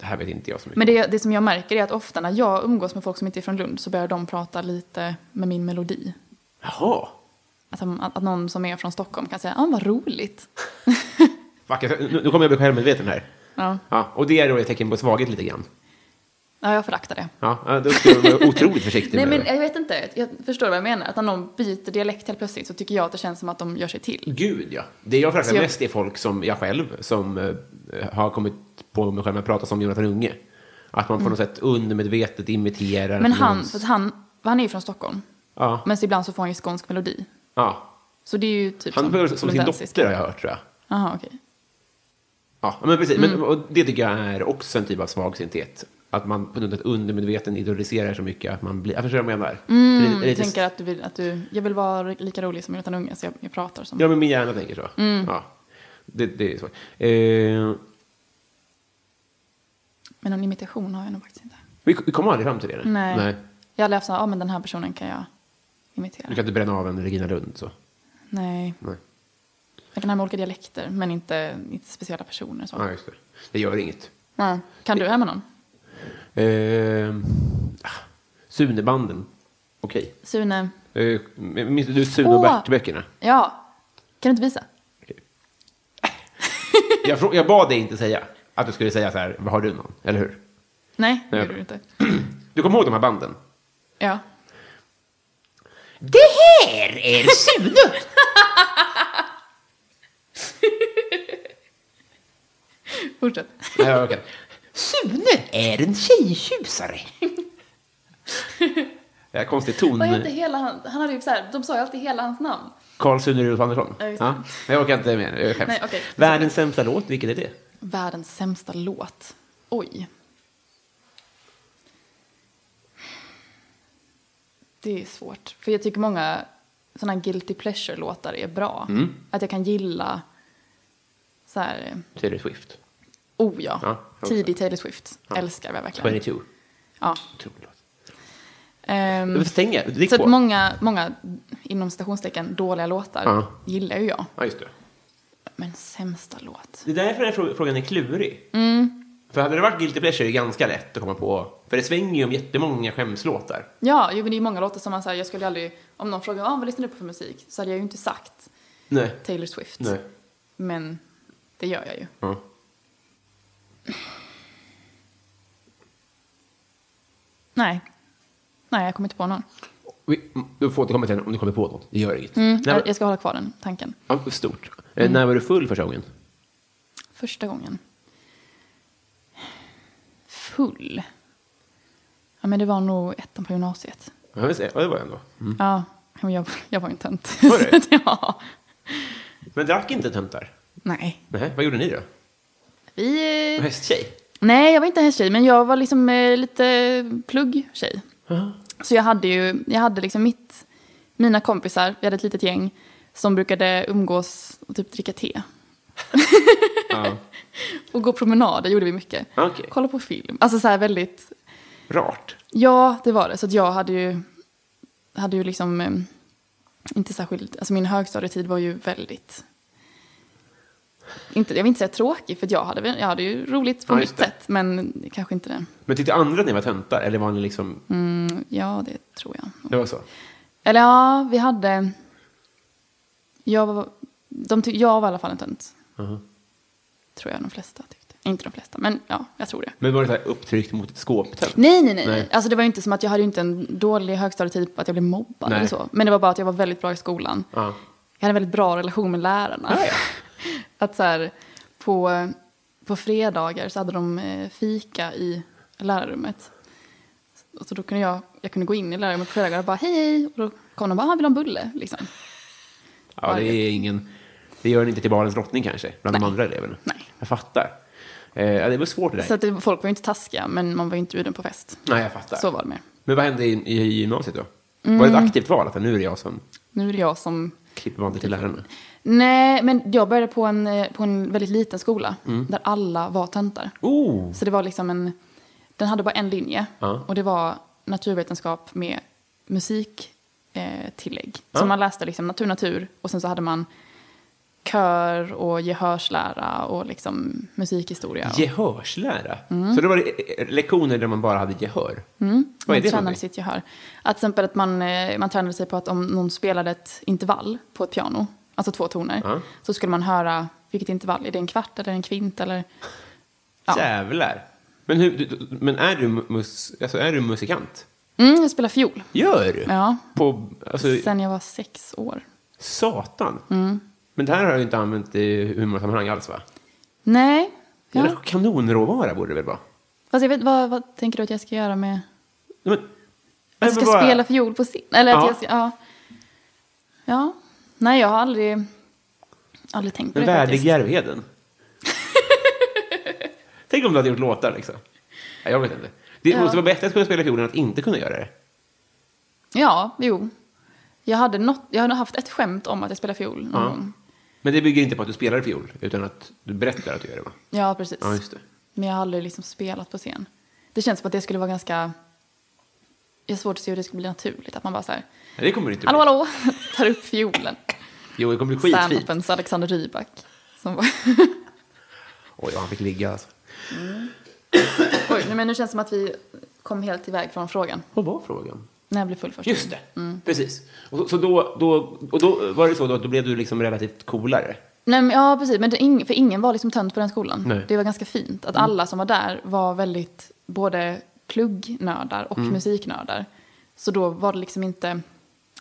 B: Det här vet inte jag så mycket
C: Men det, det som jag märker är att ofta när jag umgås med folk som inte är från Lund så börjar de prata lite med min melodi.
B: Jaha.
C: Att, de- att, att någon som är från Stockholm kan säga ah, vad roligt.
B: Fuck, jag, nu, nu kommer jag bli självmedveten här.
C: Ja.
B: Ja, och det är då ett tecken på svaghet lite grann.
C: ja, jag föraktar det.
B: Ja, ja, då ska jag vara otroligt försiktig
C: Nej,
B: med
C: men
B: det.
C: jag vet inte. Jag förstår vad jag menar. Att när någon byter dialekt helt plötsligt så tycker jag att det känns som att de gör sig till.
B: Gud, ja. Det jag föraktar
C: Så jag-
B: mest är folk som jag själv, som eh, har kommit på mig själv att prata som Jonathan Unge. Att man på något sätt undermedvetet imiterar.
C: Mm. Men han,
B: någons-
C: för att han, han är ju från Stockholm.
B: Ja.
C: Men så ibland så får han ju skånsk melodi.
B: ja.
C: Så det är ju typ
B: Han som, som, sin
C: lundensisk.
B: dotter har jag hört, tror jag.
C: Jaha, okej.
B: Ja, men precis.
C: Mm.
B: Men, och det tycker jag är också en typ av svagsynthet. Att man på något sätt undermedveten idoliserar så mycket att man blir... Jag förstår vad jag menar. Det är lite-
C: Mm,
B: lite-
C: jag tänker att du vill, att du, jag vill vara lika rolig som Jonathan Unge så jag, jag pratar som...
B: Ja, men min hjärna tänker så.
C: Mm.
B: Ja. Det, det är så. Eh,
C: Men någon imitation har jag nog faktiskt inte.
B: vi, vi kommer aldrig fram till det. eller?
C: Nej.
B: Nej.
C: Jag har läst så här, ja men den här personen kan jag imitera.
B: Du kan inte bränna av en Regina Lund så.
C: Nej.
B: Nej.
C: Jag kan härma olika dialekter men inte, inte speciella personer så.
B: Ja, just det. Det gör inget.
C: Nej. Kan du härma någon?
B: Eh, ah, Ehm, Sunebanden. Okej.
C: Sune,
B: Eh, Minns du Sune och
C: Åh.
B: Bert-böckerna?
C: Ja. Kan du inte visa?
B: Jag, frå- jag bad dig inte säga att du skulle säga så här, har du någon? Eller hur?
C: Nej, det
B: Nej.
C: gjorde du inte.
B: Du kommer ihåg de här banden?
C: Ja.
B: Det här är Sune!
C: Fortsätt.
B: Nej, okay. Sune är en tjejtjusare. Det här konstig ton.
C: Vad hette hela han? Han hade ju så här, de sa ju alltid hela hans namn.
B: Karl Sune Rudolf Andersson.
C: Ja, just det.
B: Ja, men jag orkar inte mer. Jag skäms.
C: Nej, okej.
B: Världens sämsta låt, vilken är det?
C: Världens sämsta låt. Oj. Det är svårt. För jag tycker många sådana guilty pleasure-låtar är bra.
B: Mm.
C: Att jag kan gilla så här,
B: Taylor Swift.
C: oh ja,
B: Ja, jag också.
C: tidig Taylor Swift. Älskar jag verkligen.
B: 22.
C: Ja.
B: Otrolig låt.
C: Ehm,
B: Mm. Stänga, drick
C: så att
B: på.
C: många, många, inom citationstecken, dåliga låtar
B: Ja.
C: gillar ju jag.
B: Ja, just det.
C: Men sämsta låt.
B: Det är därför den här frå- frågan är klurig.
C: Mm.
B: För hade det varit Guilty Pleasure är det ganska lätt att komma på. För det svänger ju om jättemånga skämslåtar.
C: Ja, jo, men det är ju många låtar som man säger, jag skulle ju aldrig, om någon frågar ah, vad lyssnar du på för musik? Så hade jag ju inte sagt
B: Nej.
C: Taylor Swift.
B: Nej.
C: Men det gör jag ju.
B: Ja.
C: Nej. Nej, jag kommer inte på någon.
B: Vi, du får återkomma till den om du kommer på något. Det gör inget.
C: Mm,
B: När,
C: jag, jag ska hålla kvar den tanken.
B: ja, stort. Eh, När var du full första gången?
C: Första gången. Full. Ja, men det var nog ettan på gymnasiet.
B: Ja, just det. ja, det var jag ändå.
C: Ja, men jag, jag var ju en tönt.
B: Mm. Var du?
C: Så att, ja.
B: Men drack inte töntar?
C: Nej.
B: Nej, vad gjorde ni då?
C: Vi... eh,
B: Var Hästtjej?
C: Nej, jag var inte hästtjej, men jag var liksom eh, lite pluggtjej. Så jag hade ju, jag hade liksom mitt, mina kompisar, vi hade ett litet gäng som brukade umgås och typ dricka te.
B: Ja.
C: Och gå promenader gjorde vi mycket.
B: Okej.
C: Kolla på film. Alltså så här väldigt,
B: Rart.
C: ja det var det. Så att jag hade ju, hade ju liksom eh, inte särskilt, alltså min högstadietid var ju väldigt, inte, jag vill inte säga tråkig för att jag hade, väl- jag hade ju roligt på
B: Ja, just
C: mitt
B: det.
C: sätt men kanske inte det.
B: Men tyckte andra att ni var töntar? Eller var ni liksom...
C: Mm. Ja, det tror jag.
B: Det var så?
C: Eller ja, vi hade... Jag var, de ty, jag var i alla fall en tönt. Tror jag de flesta tyckte. Inte de flesta, men ja, jag tror det.
B: Men var det så här upptryckt mot ett skåptönt?
C: Nej, nej, nej.
B: Typ. Nej.
C: nej. Alltså det var ju inte som att jag hade ju inte en dålig högstadietyp att jag blev mobbad
B: Nej.
C: eller så. Men det var bara att jag var väldigt bra i skolan.
B: Ja.
C: Jag hade en väldigt bra relation med lärarna.
B: Ja, ja.
C: Att så här, på, på fredagar så hade de eh, fika i lärarrummet. Och så då kunde jag, jag kunde gå in i lärarrummet på fredagar och bara hej, hej. Och då kom de bara, "Ah, vill du ha en bulle? Liksom.
B: Ja, det är ingen... Det gör ni inte till barnens drottning kanske, bland de andra eleverna.
C: Nej.
B: Jag fattar. Eh, ja, det var svårt det där.
C: Så att det, folk var ju inte taskiga, men man var ju inte bjuden på fest.
B: Nej, jag fattar.
C: Så var det Mm. med.
B: Men vad hände i, i gymnasiet då? Var det ett aktivt val? Att nu är det jag som
C: Nu är det jag som...
B: klipper bandet till lärarna?
C: Nej, men jag började på en, eh, på en väldigt liten skola
B: Mm.
C: där alla var töntar.
B: Oh!
C: Så det var liksom en... Den hade bara en linje
B: Ja.
C: och det var naturvetenskap med musiktillägg. Eh, tillägg.
B: Ja.
C: Så man läste liksom natur, natur och sen så hade man kör och gehörslära och liksom musikhistoria. Och,
B: Gehörslära?
C: Mm.
B: Så det var det, eh, lektioner där man bara hade gehör? Vad är
C: man
B: det för
C: tränade
B: någonting?
C: sitt gehör. Att till exempel att man, eh, man tränade sig på att om någon spelade ett intervall på ett piano, alltså två toner,
B: Ja.
C: så skulle man höra vilket intervall, är det en kvart eller en kvint eller... Ja.
B: Jävlar! Men, hur, du- du- men är, du mus, alltså är du musikant?
C: Mm, jag spelar fiol.
B: Gör du?
C: Ja.
B: På, alltså,
C: Sen Mm. jag var sex år.
B: satan! Men det här har jag ju inte använt i humorsammanhang alls, va?
C: Nej.
B: Ja.
C: Ja.
B: Kanonråvara borde det väl vara?
C: Fast jag vet, vad, vad tänker du att jag ska göra med...
B: Nej, men-
C: Att
B: Nej,
C: jag Alltså, ska
B: men bara-
C: spela fiol på scen? Eller att
B: Ja.
C: jag ska... Ja. ja. Nej, jag har aldrig... Aldrig tänkt på
B: Den
C: det
B: värdiga
C: faktiskt.
B: Järvheden. Tänk om du hade gjort låtar liksom. Nej, jag vet inte. Det
C: Ja.
B: måste vara bättre att kunna spela fiol än att inte kunna göra det.
C: Ja, jo. Jag hade, något, jag hade haft ett skämt om att jag spelar fiol någon
B: Ja.
C: gång.
B: Men det bygger inte på att du spelar fiol, utan att du berättar att du gör det va?
C: Ja, precis.
B: Ja, just det.
C: Men jag har aldrig liksom spelat på scen. Det känns som att det skulle vara ganska... Jag har svårt att se hur det skulle bli naturligt. Att man bara så här,
B: Nej, det kommer det inte
C: hallå,
B: bli.
C: hallå, tar upp fiolen.
B: Jo, det kommer bli skitfint.
C: Standupens Alexander Rybak. Som var...
B: Oj, vad han fick ligga alltså.
C: Oj, nej, men nu känns det som att vi kom helt iväg från frågan.
B: Vad var frågan?
C: När jag blev full första
B: Just
C: gången.
B: det, precis. Och, så- så då, då, och då var det så då, att då blev du liksom relativt coolare.
C: Nej, men, ja, precis. Men det, ing- för ingen var liksom tönt på den skolan.
B: Nej. Mm.
C: Det var ganska fint att alla som var där var väldigt både pluggnördar
B: Mm.
C: och musiknördar. Så då var det liksom inte,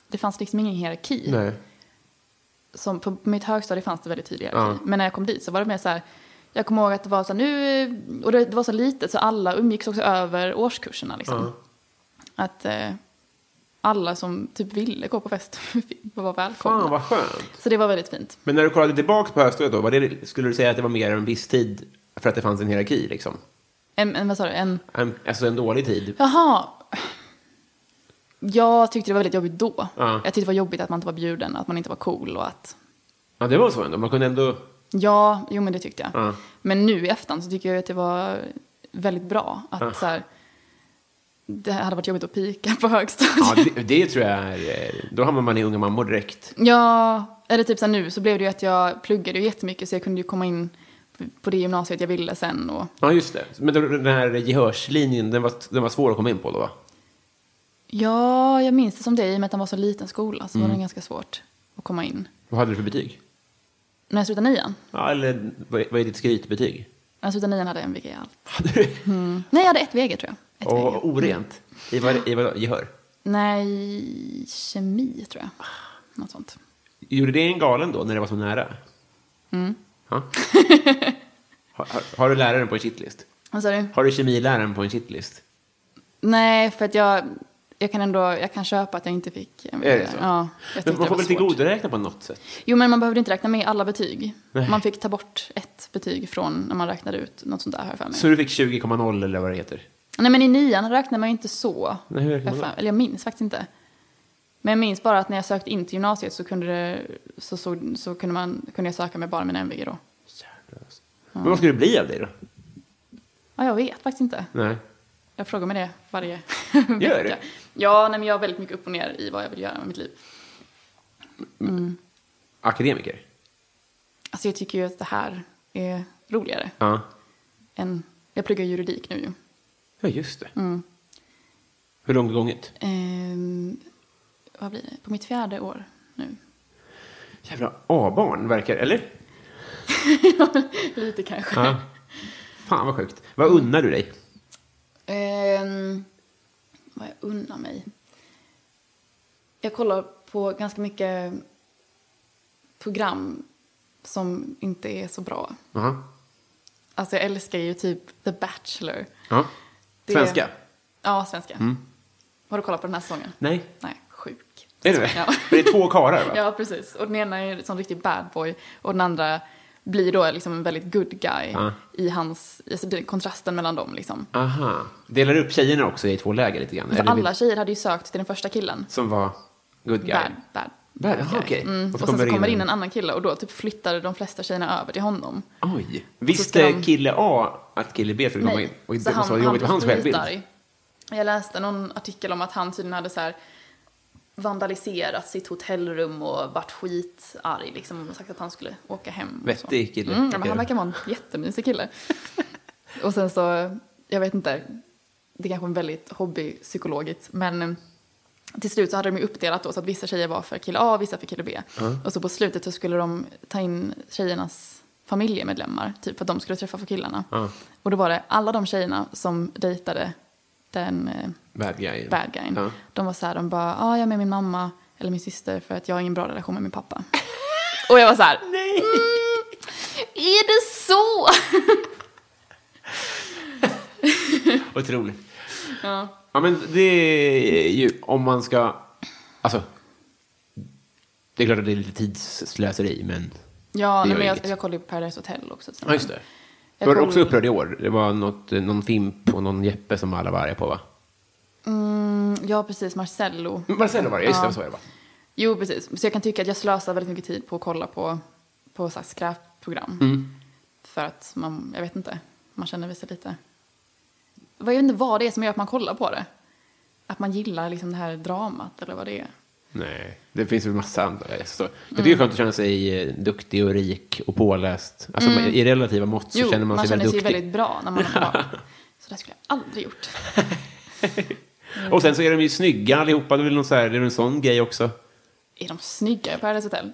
C: det fanns liksom ingen hierarki. Som på mitt högstadie fanns det väldigt tydlig hierarki.
B: Ja.
C: Men när jag kom dit så var det mer så här, jag kommer ihåg att det var så här nu, och det, det var så litet så alla umgicks också över årskurserna liksom.
B: Ja.
C: Att eh, alla som typ ville gå på fest var välkomna.
B: Fan vad skönt.
C: Så det var väldigt fint.
B: Men när du kollade tillbaka på högstadiet då, var det, skulle du säga att det var mer en viss tid för att det fanns en hierarki liksom?
C: En, en, vad sa du? En,
B: En, alltså en dålig tid?
C: Jaha. Jag tyckte det var väldigt jobbigt då.
B: Ja.
C: Jag tyckte det var jobbigt att man inte var bjuden, att man inte var cool och att...
B: Ja, det var så ändå. Man kunde ändå...
C: Ja, jo men det tyckte jag.
B: Ja.
C: Men nu i efterhand så tycker jag att det var väldigt bra. Att
B: Ja.
C: så här, det hade varit jobbigt att pika på högstadiet.
B: Ja, det, det tror jag är... eh, Då hamnar man i unga mammor direkt.
C: Ja, eller typ så här nu så blev det ju att jag pluggade ju jättemycket så jag kunde ju komma in på det gymnasiet jag ville sen och...
B: Ja, just det. Men då- den här gehörslinjen, den var, den var svår att komma in på då, va?
C: Ja, jag minns det som det i och med att den var så liten skola så
B: Mm.
C: var det ganska svårt att komma in.
B: Vad hade du för betyg?
C: När jag slutade nian,
B: Ja, eller vad är- vad är ditt skrytbetyg?
C: när jag slutade nian hade jag en VG i allt.
B: Hade du...
C: Nej, jag hade ett VG tror jag. Ett
B: Och
C: VG.
B: orent? I vad, i vad gehör?
C: Nej, kemi tror jag. Något sånt.
B: Gjorde det en galen då, när det var så nära? Mm. Ja. Har, har, har du läraren på en shitlist?
C: Vad sa du?
B: Har du kemiläraren på en shitlist?
C: Nej, för att jag, jag kan ändå, jag kan köpa att jag inte fick. en
B: Är det
C: VG.
B: så?
C: Ja, jag
B: Men
C: tyckte
B: man får
C: det var
B: väl
C: svårt.
B: tillgodoräkna på något sätt?
C: Jo, men man behövde inte räkna med alla betyg.
B: Nej.
C: Man fick ta bort ett betyg från när man räknade ut något sånt där, har jag för mig.
B: Så du fick 20,0 eller vad det heter?
C: Nej, men i nian räknade man ju inte så.
B: Nej, hur räknar
C: Jag
B: man
C: för-
B: då?
C: Eller jag minns faktiskt inte. Men jag minns bara att när jag sökte in till gymnasiet så kunde, det, så, så, så kunde, man, kunde jag söka med bara mina MVG då.
B: Jävlar, alltså. Men vad skulle det bli av dig då?
C: Ja, jag vet faktiskt inte.
B: Nej.
C: Jag frågar mig det varje
B: Gör
C: vecka.
B: du?
C: Ja, nej, men jag har väldigt mycket upp och ner i vad jag vill göra med mitt liv.
B: Akademiker?
C: Alltså jag tycker ju att det här är roligare
B: Ja.
C: än... Jag pluggar juridik nu ju. Mm.
B: Ja, just det. Hur långt gånget?
C: Ehm, vad blir det? På mitt fjärde år nu.
B: Jävla A-barn verkar eller?
C: Lite kanske.
B: Ja. Fan vad sjukt. Vad unnar du dig?
C: Ehm, vad jag unnar mig. Jag kollar på ganska mycket program som inte är så bra.
B: Aha.
C: Alltså jag älskar ju typ The Bachelor.
B: Ja.
C: Det-
B: Svenska? Mm.
C: Ja, svenska. Har du kollat på den här säsongen?
B: Nej.
C: Nej, sjuk.
B: Är det det?
C: Ja.
B: För det är två karar va?
C: Ja, precis. Och den ena är en sån riktig bad boy och den andra blir då liksom en väldigt good guy
B: Ja.
C: i hans, alltså det- kontrasten mellan dem liksom.
B: Aha. Delar du upp tjejerna också i två läger lite grann?
C: För
B: Eller
C: Alltså alla tjejer hade ju sökt till den första killen.
B: Som var good guy?
C: Bad, bad.
B: Bad, aha,
C: guy.
B: okej.
C: Mm. Och, sen så kommer det in en annan kille och då typ flyttade de flesta tjejerna över till honom.
B: Oj.
C: så ska
B: Visste
C: de-
B: kille A att kille B skulle komma in? Och det måste vara jobbigt för hans
C: blev
B: självbild.
C: skitarg. Jag läste någon artikel om att han tydligen hade så här vandaliserat sitt hotellrum och varit skitarg liksom och sagt att han skulle åka hem. och så.
B: Vettig kille,
C: Mm, ja,
B: tycker
C: men han
B: jag.
C: verkar vara en jättemysig kille. och sen så, jag vet inte, det är kanske är väldigt hobbypsykologiskt men eh, till slut så hade de ju uppdelat då så att vissa tjejer var för kille A och vissa för kille B. Och så på slutet så skulle de ta in tjejernas familjemedlemmar, typ för att de skulle träffa för killarna.
B: Ja.
C: Och då var det alla de tjejerna som dejtade den eh,
B: Bad guy.
C: bad guyen.
B: Ja.
C: De var så här, de bara, ja ah, jag är med min mamma eller min syster för att jag har ingen bra relation med min pappa. Och jag var så här, "Mm,
B: Nej.
C: är det så?
B: Otroligt. Ja. men det är ju om man ska... Alltså. Det är klart att det är lite tidsslöseri, men...
C: Ja,
B: Det
C: nej,
B: gör
C: men jag,
B: inget.
C: jag kollade ju på Paradise Hotel också.
B: Ja, just det.
C: Jag
B: Jag var
C: kollar-
B: också upprörd i år. Det var något, någon Fimp och någon Jeppe som alla var arga på, va?
C: Mm, ja, precis, Marcello.
B: Marcello var det, just det. Så var det, va?
C: Jo, precis. Så jag kan tycka att jag slösar väldigt mycket tid på att kolla på, på så här skräpprogram.
B: Mm.
C: För att man, jag vet inte, man känner väl sig lite... Jag vet inte vad det är som gör att man kollar på det. Att man gillar liksom det här dramat eller vad det är.
B: Nej, det finns väl massa andra. Jag förstår. Jag tycker det är skönt att känna sig eh, duktig och rik och påläst. Alltså, I relativa mått så
C: jo,
B: känner man sig
C: känner
B: väldigt
C: sig
B: duktig.
C: väldigt bra när man är bra. Så det skulle jag aldrig gjort.
B: Och sen så är de ju snygga allihopa. Det är väl någon så här, det är väl en sån grej också.
C: Är de snygga i Paradise Hotel?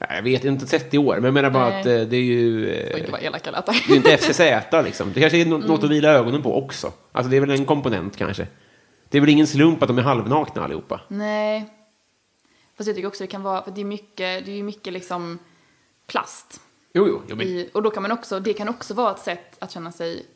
B: Nej, Jag vet inte, 30 år. Men jag menar bara
C: Nej.
B: att eh, det är ju... eh,
C: Oj, vad elaka lät.
B: Det är ju inte FCZ liksom. Det kanske är nå- något att vila ögonen på också. Alltså det är väl en komponent kanske. Det är väl ingen slump att de är halvnakna allihopa.
C: Nej. Fast jag tycker också det kan vara, för det är mycket, det är ju mycket liksom plast.
B: Jo, jo, jo men
C: I, och då kan man också, det kan också vara ett sätt att känna sig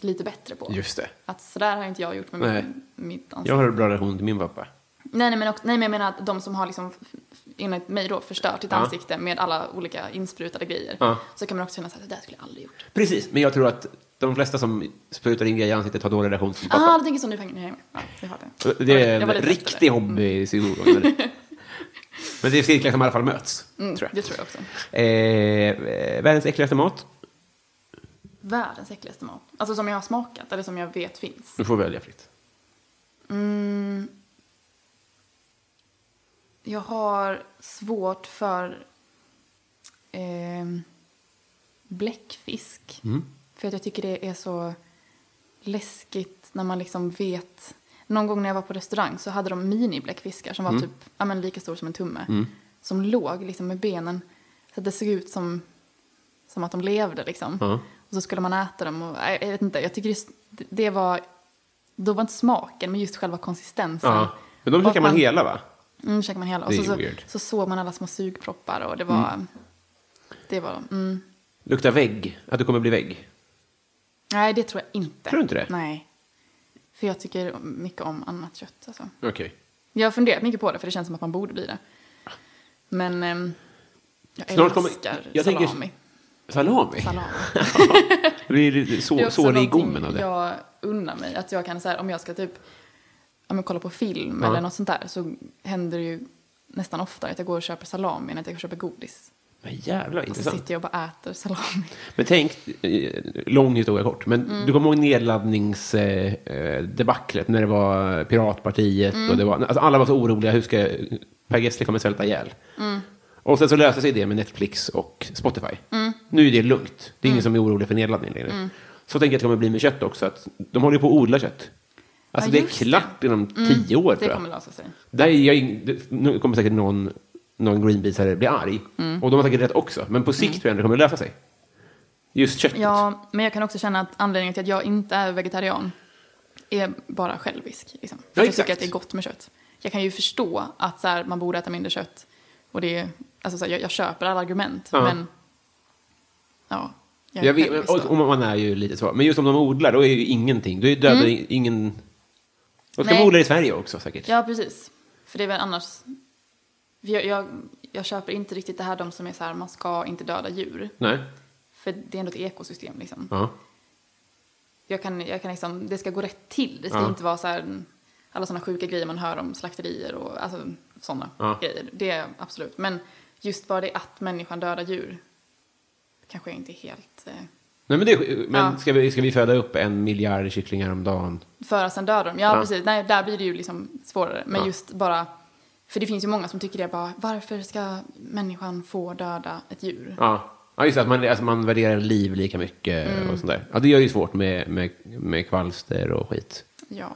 C: lite bättre på.
B: just det.
C: Att sådär har inte jag gjort med
B: Nej.
C: min, mitt
B: Jag
C: ansikte.
B: har en bra relation till min pappa.
C: Nej, nej, men också, nej, men jag menar att de som har liksom, f- f- enligt mig då, förstört ditt
B: Ja.
C: ansikte med alla olika insprutade grejer.
B: Ja.
C: Så kan man också känna så här, det där skulle jag aldrig gjort.
B: Precis, men jag tror att de flesta som sprutar in grejer i ansiktet har dålig relation till sin
C: Ah,
B: pappa.
C: du tänker så, nu hänger nu hänger jag med. Ja, jag fattar.
B: Det är
C: Jag
B: en
C: var lite efter
B: riktig
C: det.
B: hobby. Mm. Men det är cirklar som i alla fall möts,
C: Mm,
B: tror jag.
C: Det tror jag också.
B: Eh, eh, världens äckligaste mat?
C: Världens äckligaste mat. Alltså som jag har smakat, eller som jag vet finns.
B: Du får välja fritt.
C: Mm. Jag har svårt för ehm, bläckfisk.
B: Mm.
C: För att jag tycker det är så läskigt när man liksom vet. Någon gång när jag var på restaurang så hade de mini-bläckfiskar som var
B: Mm.
C: typ ja, men lika stor som en tumme. Som låg liksom med benen. Så att det såg ut som, som att de levde liksom.
B: Ja.
C: Och så skulle man äta dem och nej, jag vet inte. Jag tycker just, det- det var, då var inte smaken men just själva konsistensen.
B: Ja. Men de käkar
C: Och
B: man hela, va?
C: Mm, käkar man hela. Och
B: Det
C: så,
B: är
C: så,
B: weird. Mm.
C: så såg man alla små sugproppar och det var, det var, mm.
B: Luktar vägg. Att du kommer bli vägg.
C: Nej, det tror jag inte.
B: Tror du inte det?
C: Nej. För jag tycker mycket om annat kött. Alltså.
B: Okej.
C: Jag har funderat mycket på det, för det känns som att man borde bli det. Men ehm, jag
B: Snart kommer-
C: älskar
B: jag tänker-
C: salami.
B: Salami?
C: salami.
B: Det blir
C: Det är
B: så,
C: också
B: sår i
C: någonting
B: gommen av det.
C: Jag unnar mig att jag kan, så här, om jag ska typ om jag kollar på film
B: Ja.
C: eller något sånt där så händer det ju nästan oftare att jag går och köper salami än att jag köper godis.
B: Men jävlar,
C: Och så
B: intressant.
C: sitter jag och bara äter salami.
B: Men tänk, eh, lång historia kort, men
C: Mm.
B: du kommer ihåg nedladdningsdebaclet när det var Piratpartiet
C: Mm.
B: och det var, alltså alla var så oroliga, hur ska Per Gessle kommer svälta ihjäl?
C: Mm.
B: Och sen så löste sig det med Netflix och Spotify.
C: Mm.
B: Nu är det lugnt, det är ingen som är orolig för nedladdning längre. Så tänker jag att det kommer bli med kött också, att de håller ju på att odla kött. Alltså
C: Ja,
B: det är
C: just det. Mm.
B: klart inom tio år tror
C: Det
B: jag.
C: kommer lösa sig.
B: Där är jag, in- det- nu kommer säkert någon, någon greenpeaceare bli arg.
C: Mm.
B: Och de har säkert rätt också. Men på sikt tror jag ändå det kommer lösa sig. Just köttet.
C: Ja, men jag kan också känna att anledningen till att jag inte är vegetarian är bara självisk. Liksom. För att jag
B: exakt.
C: tycker att det är gott med kött. Jag kan ju förstå att så här, man borde äta mindre kött. Och det är, alltså, så här, jag, jag köper alla argument,
B: Ja.
C: men... Ja, jag är
B: jag vet, men-
C: självisk
B: och,
C: då.
B: och man är ju lite så. Men just om de odlar, då är det ju ingenting. Då är dödar i- ingen... Och ska
C: Mm. Nej.
B: de odla i Sverige också säkert.
C: Ja, precis. För det är väl annars... för Jag, jag, jag köper inte riktigt det här de som är så här, man ska inte döda djur.
B: Nej.
C: För det är ändå ett ekosystem liksom.
B: Ja.
C: jag kan, jag kan liksom, det ska gå rätt till. Det ska
B: Ja.
C: inte vara så här, mm, alla sådana sjuka grejer man hör om slakterier och alltså, sådana
B: Ja.
C: grejer. Det är absolut. Men just bara det att människan dödar djur kanske jag inte är helt... Eh,
B: Nej, men det, är- men
C: Ja.
B: ska, vi, ska vi föda upp en miljard kycklingar om dagen?
C: föra sen dödar dem. Ja,
B: Ja.
C: precis. Nej, där blir det ju liksom svårare. Men
B: Ja.
C: just bara... För det finns ju många som tycker det bara, varför ska människan få döda ett djur?
B: Ja. Ja, just det, att man, alltså man värderar liv lika mycket
C: Mm.
B: och sånt där. Ja, det gör ju svårt med, med, med kvalster och skit.
C: Ja.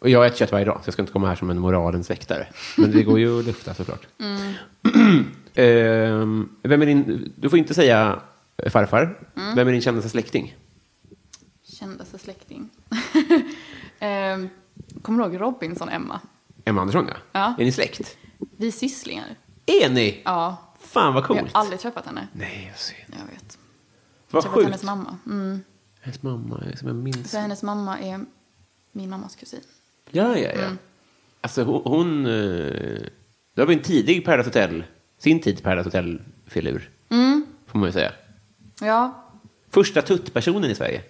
B: Och jag äter kött varje dag, så jag ska inte komma här som en moralens väktare. Men det går ju att lufta såklart.
C: Mm.
B: Ehm, vem är din, du får inte säga eh, farfar.
C: Mm.
B: Vem är din kändaste släkting?
C: Kändaste släkting. eh, kommer du ihåg Robinson-Emma?
B: Emma Andersson, ja.
C: Ja.
B: Är ni släkt?
C: Vi är sysslingar.
B: Är ni?
C: Ja.
B: Fan, vad
C: Jag har
B: coolt.
C: aldrig träffat henne.
B: Nej, jag ser
C: Jag vet.
B: Vad
C: träffat
B: sjukt.
C: hennes mamma. Mm.
B: Hennes mamma är som jag minns.
C: Så hennes mamma är min mammas kusin.
B: Ja, ja, ja.
C: Mm.
B: Alltså, hon... hon eh, det var ju en tidig Paradise Hotel. Sin tids Paradise Hotel-filur.
C: Mm.
B: Får man ju säga.
C: Ja,
B: Första tuttpersonen i Sverige.
C: var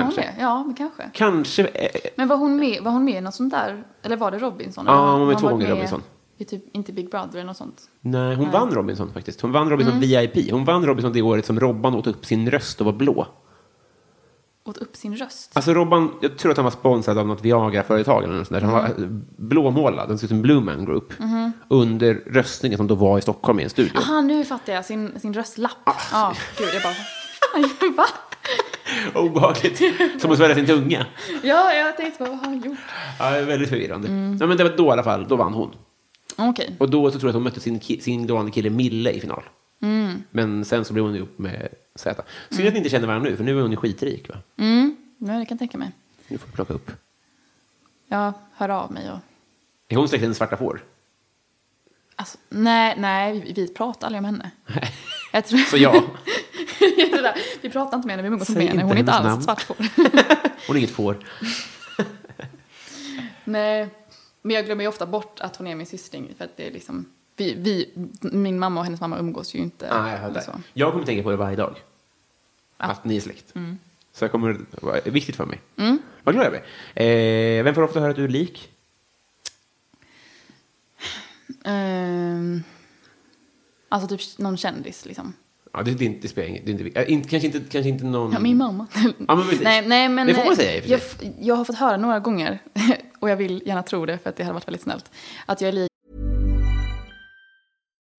C: hon
B: Kanske.
C: det? Ja, men kanske.
B: Kanske. eh,
C: Men var hon med, var hon med i något sånt där? Eller var det Robinson?
B: Ja,
C: Eller
B: hon var med
C: har
B: två
C: varit
B: gånger Robinson.
C: I typ, inte Big Brother eller något sånt.
B: Nej, hon vann Robinson faktiskt. Hon vann Robinson VIP. Hon vann Robinson det året som Robban åt upp sin röst och var blå.
C: Åt upp sin röst.
B: Alltså Robban, jag tror att han var sponsrad av något Viagra-företag eller något sånt där. Han var eh, blåmålad, han såg ut som Blue Man Group. Under röstningen som då var i Stockholm i en studio. Ah, alltså.
C: Aha, nu fattar jag. Sin, sin röstlapp. Ja, gud, jag bara... Fan, jag bara...
B: Obehagligt. Som att svära sin tunga.
C: Ja, jag tänkte bara, vad har han gjort?
B: Ja, det är väldigt förvirrande. Ja, men det var då i alla fall, då vann hon.
C: Okej.
B: Och då så tror jag att hon mötte sin, ki- sin dåvarande kille Mille i final. Men sen så blev hon ihop med Z. Synd att ni inte känner varandra nu, för nu är hon ju skitrik. Va?
C: Mm, ja, det kan jag tänka mig.
B: Nu får vi plocka upp.
C: Jag hör av mig och...
B: Är hon släkt med svarta får?
C: Alltså, nej, nej, vi, vi pratar aldrig om henne. Jag tror...
B: Så ja,
C: Jag tror det. vi pratar inte med henne, vi umgås inte
B: Säg
C: med henne.
B: inte
C: Hon är inte
B: hennes
C: alls
B: namn.
C: ett svart får.
B: hon är inget får.
C: Nej, men jag glömmer ju ofta bort att hon är min syster för att det är liksom... Vi, vi, min mamma och hennes mamma umgås ju inte.
B: Ah, jag, hör
C: eller
B: det.
C: så.
B: jag kommer tänka på det varje dag. Att ni är släkt.
C: Mm.
B: Så det kommer vara viktigt för mig. Vad glad jag blir. Eh, vem får ofta höra att du är lik?
C: Ehm, alltså typ någon kändis liksom.
B: Ja, det, det, är inte- det spelar ingen det är inte, eh, inte, kanske, inte, kanske inte någon...
C: Ja, min mamma.
B: Mm. Ja, men precis.
C: nej, nej, men,
B: Det får man säga i och för
C: jag,
B: sig.
C: jag har fått höra några gånger, och jag vill gärna tro det för att det hade varit väldigt snällt, att jag är lik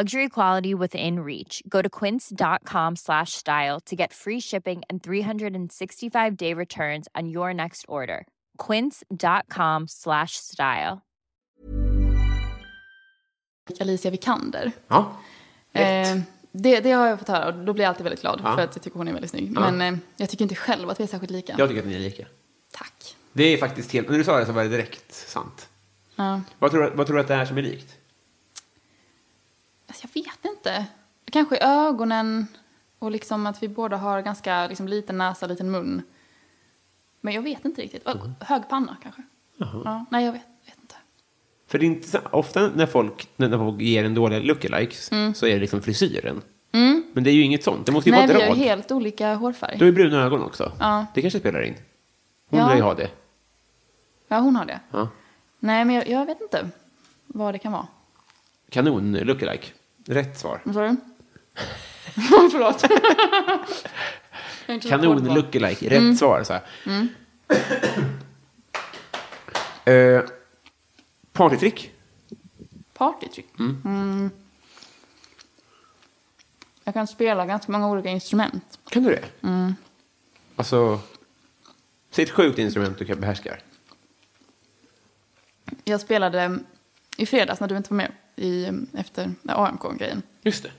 D: Luxury quality within reach. Go to quince.com slash style to get free shipping and 365 day returns on your next order. Quince.com slash style.
C: Alicia Vikander.
B: Ja, rätt.
C: Eh, det, det har jag fått höra och då blir jag alltid väldigt glad
B: Ja.
C: för att jag tycker hon är väldigt snygg.
B: Ja.
C: Men eh, jag tycker inte själv att vi är särskilt lika.
B: Jag tycker att ni är lika.
C: Tack.
B: Det är faktiskt helt... När du sa det så var det direkt sant.
C: Ja.
B: Vad tror, du- vad tror du att det är som är likt?
C: Alltså, jag vet inte. Kanske ögonen och liksom att vi båda har ganska liksom, liten näsa, liten mun. Men jag vet inte riktigt. Mm. Hög panna kanske? Ja, nej, jag vet, vet inte.
B: För det är inte så, ofta när folk, när när folk ger en dålig lookalikes så är det liksom frisyren. Men det är ju inget sånt. Det måste ju
C: Mm. nej, vi
B: vara
C: har ju
B: Typ drag.
C: helt olika hårfärg.
B: Du har ju bruna ögon också.
C: Ja.
B: Det kanske spelar in. Hon
C: Ja.
B: lär ju ha det.
C: Ja, hon har det.
B: Ja.
C: Nej, men jag, jag vet inte vad det kan vara.
B: Kanon lookalike. Rätt svar.
C: Vad sa du? Förlåt. Jag är inte så
B: Kanon
C: hård på-
B: lookalike. Rätt
C: Mm.
B: svar. Så här. Eh, partytrick.
C: Partytrick. Mm. Jag kan spela ganska många olika instrument.
B: Kan du det? Mm. Alltså, säg ett sjukt instrument du kan behärskar.
C: Jag spelade eh, i fredags när du inte var med i, eh, efter AMK-grejen.
B: Just det.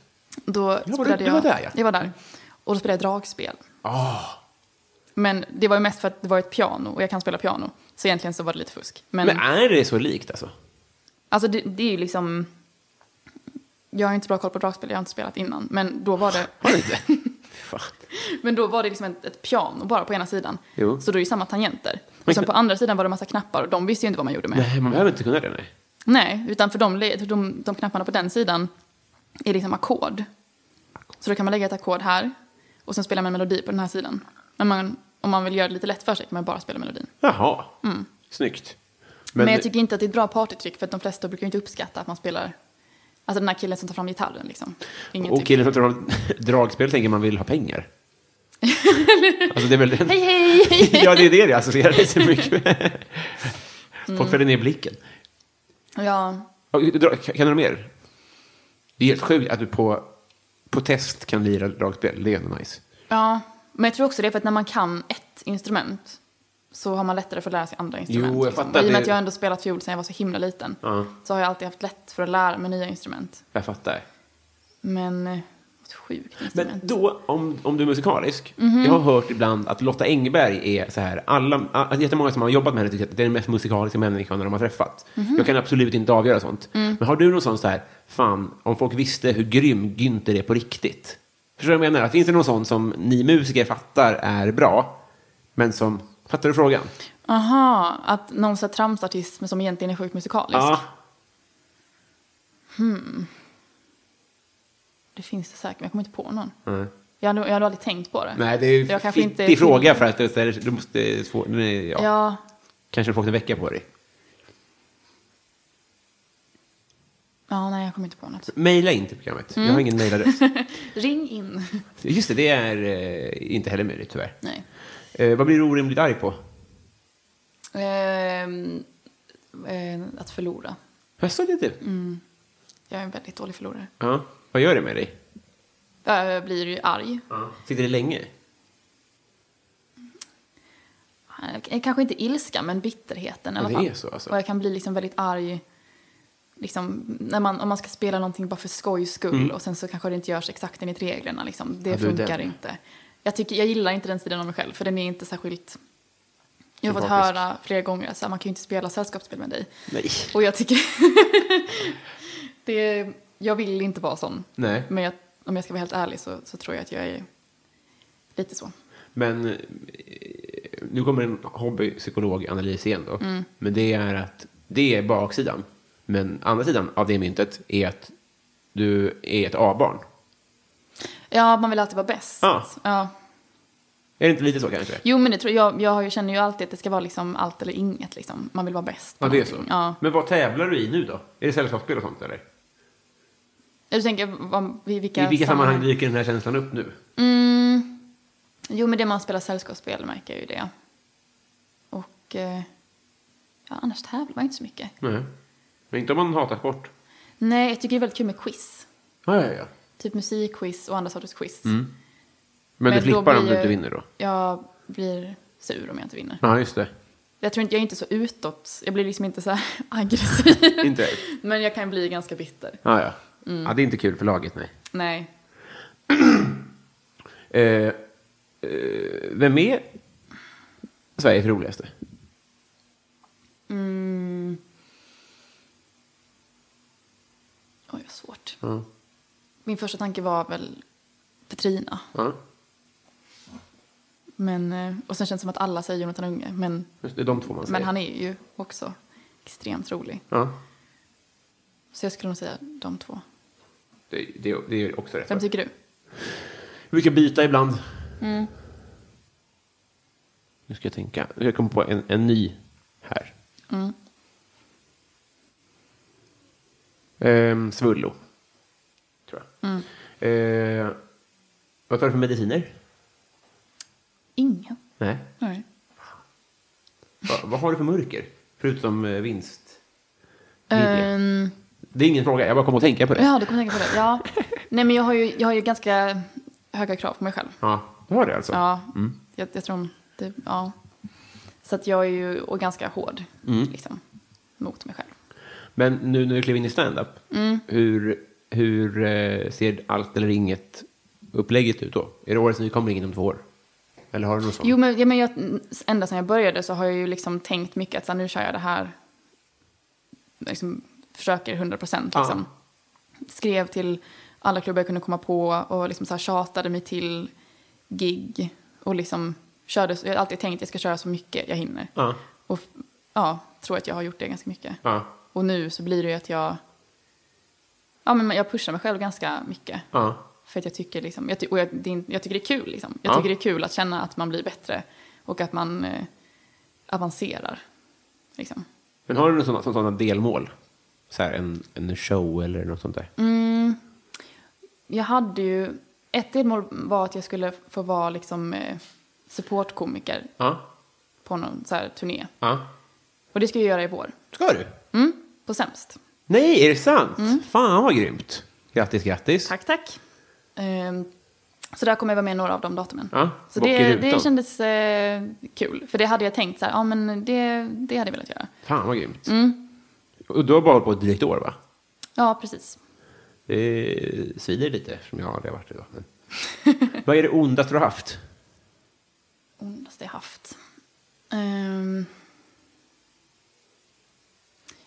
C: Då
B: du-
C: spelade
B: du
C: jag,
B: var där, ja. Ah.
C: Jag var där. Och då spelade jag dragspel. Men det var ju mest för att det var ett piano och jag kan spela piano. Så egentligen så var det lite fusk. Men,
B: Men äh. är det så likt alltså?
C: alltså det, det är ju liksom... Jag har inte så bra koll på dragspel, jag har inte spelat innan. Men då var det...
B: Har du inte? Fan.
C: Men då var det liksom ett, ett piano bara på ena sidan.
B: Jo.
C: Så då är det samma tangenter.
B: Men-
C: Och sen på andra sidan var det massa knappar och de visste ju inte vad man gjorde med.
B: Nej, man behöver inte kunna det, nej.
C: Nej, utan för de, le- för de, de knapparna på den sidan är liksom ackord. Så då kan man lägga ett ackord här och sen spela med en melodi på den här sidan. Men man, om man vill göra det lite lätt för sig kan man bara spela melodin.
B: Jaha. Snyggt.
C: Mm. Men, jag tycker inte att det är ett bra partytrick för att de flesta brukar ju inte uppskatta att man spelar Alltså den här killen som tar fram gitarren liksom. Ingen
B: Och
C: typ.
B: killen som tror om dragspel tänker man vill ha pengar. alltså det är väl den...
C: Hej hej!
B: ja, det är det jag associerar det så mycket med.
C: Mm.
B: Folk fäller ner blicken.
C: ja,
B: Och dra- Kan du mer? Det är helt sjukt att du på, på test kan lira dragspel. Det är ändå nice.
C: ja, men jag tror också det är för att när man kan ett instrument så har man lättare för att lära sig andra instrument.
B: jag
C: liksom.
B: fattar
C: Och I och med
B: det.
C: att jag ändå spelat fiol sedan jag var så himla liten
B: Ja.
C: så har jag alltid haft lätt för att lära mig nya instrument.
B: Jag fattar.
C: Men eh, ett sjukt
B: Men
C: instrument.
B: då, om, om du är musikalisk.
C: Mhm.
B: Jag har hört ibland att Lotta Engberg är så här. Alla, att jättemånga som har jobbat med henne tycker att det är den mest musikaliska människan de har träffat.
C: Mhm.
B: Jag kan absolut inte avgöra sånt.
C: Mm.
B: Men har du någon sån så här, fan, om folk visste hur grym Günther är på riktigt. Förstår du vad jag menar? Finns det någon sån som ni musiker fattar är bra, men som, fattar du frågan?
C: Aha, att någon så här tramsartist men som egentligen är sjukt musikalisk.
B: Ja.
C: Det finns det säkert, men jag kommer inte på någon. Jag, hade, jag hade aldrig tänkt på det.
B: Nej, det är ju
C: Jag
B: en
C: kanske inte-
B: fittig fråga för att det är, du måste, det är svår, nej, ja.
C: Ja,
B: Kanske du får en vecka på dig.
C: ja, nej, jag kommer inte på något.
B: Mejla in till programmet. Jag
C: Mm.
B: har ingen mejladress.
C: Ring in.
B: Just det, det är eh, inte heller möjligt tyvärr.
C: Nej.
B: Eh, vad blir du orimligt arg på?
C: Ehm, eh, att förlora.
B: Jaså, det är du?
C: Mm. Jag är en väldigt dålig förlorare.
B: Ja. Vad gör det med dig?
C: Jag blir ju arg.
B: Sitter det länge?
C: Eh, Kanske inte ilska, men bitterheten i
B: Ja,
C: alla
B: det
C: fall.
B: är så, alltså.
C: Och jag kan bli liksom väldigt arg liksom, när man, om man ska spela någonting bara för skojs skull och sen så kanske det inte görs exakt enligt reglerna. Liksom. Det
B: Mm. Ja, du är
C: funkar
B: den.
C: inte. Jag, tycker, jag gillar inte den sidan av mig själv, för den är inte särskilt... Jag har fått
B: Sympatisk.
C: höra flera gånger att man kan ju inte spela sällskapsspel med dig.
B: Nej.
C: Och jag tycker... det, jag vill inte vara sån.
B: Nej.
C: Men jag, om jag ska vara helt ärlig så, så tror jag att jag är lite så.
B: Men eh, nu kommer en hobbypsykologanalys igen då.
C: Mm.
B: Men det är att det är baksidan. Men andra sidan av det myntet är att du är ett A-barn.
C: Ja, man vill alltid vara bäst.
B: Ja.
C: Ja.
B: Är det inte lite så kanske?
C: Jo, men det tror jag, jag har ju- känner ju alltid att det ska vara liksom allt eller inget. Liksom. Man vill vara bäst. på
B: Ja, det är så.
C: någonting. Ja.
B: Men vad tävlar du i nu då? Är det sällskapsspel och sånt eller?
C: Jag tänker, vad, i vilka,
B: I vilka sammanhang dyker den här känslan upp nu?
C: Mm. Jo, men det man spelar sällskapsspel märker jag ju det. Och eh, ja, annars tävlar man inte så mycket.
B: Nej. Men inte om man hatar sport.
C: Nej, jag tycker det är väldigt kul med quiz.
B: Ja, ja, ja.
C: Typ musikquiz och andra sorters quiz.
B: Men,
C: Men
B: Mm. du
C: då
B: flippar om
C: blir
B: du
C: jag-
B: inte vinner då?
C: Jag blir sur om jag inte vinner.
B: Ja, just det.
C: Jag tror inte, jag är inte så utåt. Jag blir liksom inte så här aggressiv.
B: Inte?
C: Men jag kan bli ganska bitter.
B: Ja, ja.
C: Mm.
B: ja det är inte kul för laget, nej.
C: Nej.
B: Eh, eh, vem är Sveriges roligaste?
C: Oj, vad svårt. Min första tanke var väl Petrina.
B: Ja.
C: Men, eh, och sen känns det som att alla säger Jonathan Unge. Men,
B: Just det, de två man säger.
C: men han är ju också extremt rolig.
B: Ja,
C: Så jag skulle nog säga de två.
B: det, det, det är också rätt.
C: Vem tycker du?
B: Vi brukar byta ibland.
C: Mm.
B: Nu ska jag tänka. Jag kommer på en, en ny här.
C: Mm.
B: Ehm, svullo. Tror jag.
C: Mm.
B: Ehm, vad tar du för mediciner?
C: Ingen.
B: Nej.
C: Nej.
B: Va, vad har du för mörker? Förutom eh, vinst. vilja?
C: Ehm,
B: Det är ingen fråga. Jag bara kom att tänka på det.
C: ja, du kommer tänka på det. Ja. Nej, men jag har, ju, jag har ju ganska höga krav på mig själv.
B: Ja, du har det alltså?
C: Ja, jag, jag tror det, ja. Så att jag är ju och ganska hård liksom, mot mig själv.
B: Men nu när du klev in i stand-up,
C: Mm.
B: hur, hur eh, ser allt eller inget-upplägget ut då? Är det årets nykomling inom två år? Eller har du något sånt?
C: Jo, men, ja, men jag, ända sedan jag började så har jag ju liksom tänkt mycket att så här, nu kör jag det här. Liksom, försöker 100 procent. Liksom. Skrev till alla klubbar jag kunde komma på och liksom så här, tjatade mig till gig. Och liksom körde, jag har alltid tänkt att jag ska köra så mycket jag hinner.
B: Ja.
C: Och ja, tror att jag har gjort det ganska mycket.
B: Ja.
C: Och nu så blir det ju att jag, ja men jag pushar mig själv ganska mycket.
B: Ja.
C: För att jag tycker, liksom, jag, ty- och jag, det är, inte- jag tycker det är kul. Liksom. Jag
B: Ja.
C: tycker det är kul att känna att man blir bättre och att man eh, avancerar. Liksom.
B: Men har du något sådana, sådana delmål? Så här en, en show eller något sånt
C: Mm.
B: där?
C: Jag hade ju, ett delmål var att jag skulle få vara liksom, eh, supportkomiker
B: Ja.
C: på någon så här, turné.
B: ja.
C: Och det ska jag göra i vår.
B: Ska du?
C: Mm, på sämst.
B: Nej, är det sant? Fan vad grymt! Grattis, grattis.
C: Mm. Tack, tack. Ehm, så där kommer jag vara med några av de datumen.
B: Ja,
C: så
B: bock i
C: det,
B: rutan.
C: det kändes eh, kul. För det hade jag tänkt så här, ja men det, det hade jag velat göra.
B: Fan vad grymt. Och du har bara hållit på ett drygt år va?
C: Ja, precis.
B: Det svider lite som jag aldrig har varit idag. Men. Vad är det ondaste du har haft?
C: Ondaste jag haft. Ehm.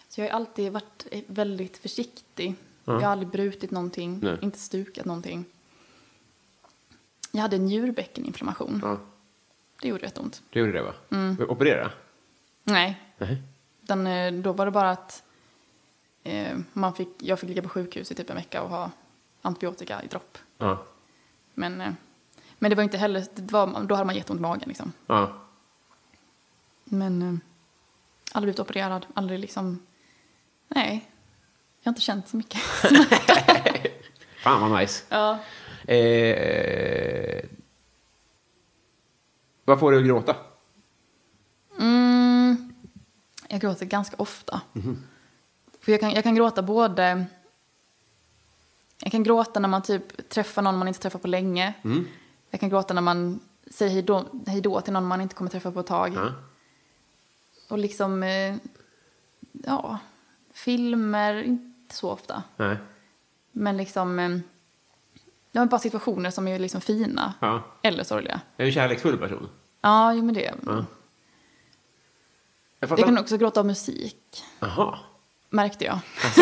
C: så jag har ju alltid varit eh, väldigt försiktig. Jag har aldrig brutit någonting,
B: Nej.
C: inte stukat någonting. Jag hade en njurbäckeninflammation.
B: Ja,
C: Det gjorde rätt ont.
B: det gjorde det va? Operera?
C: Nej,
B: Nej.
C: den, eh, då var det bara att eh, man fick, jag fick ligga på sjukhus i typ en vecka och ha antibiotika i dropp.
B: Ja.
C: Men, eh, men det var inte heller, det var, då hade man jätteont i magen liksom.
B: ja.
C: Men eh, aldrig blivit opererad, aldrig liksom... Nej, jag har inte känt så mycket.
B: Fan vad nice.
C: ja.
B: Eh, vad får du att gråta?
C: mm, jag gråter ganska ofta. För jag kan, jag kan gråta både... Jag kan gråta när man typ träffar någon man inte träffar på länge. Jag kan gråta när man säger hej då, hej då till någon man inte kommer träffa på ett tag.
B: Ja.
C: Och liksom... Eh, ja, filmer, inte så ofta.
B: Nej.
C: Men liksom... eh, Det var bara situationer som är liksom fina.
B: Ja.
C: Eller sorgliga.
B: Är du en kärleksfull person?
C: Ja, jo men det.
B: Jag
C: Jag
B: fattar.
C: kunde också gråta av musik.
B: Jaha.
C: Märkte jag.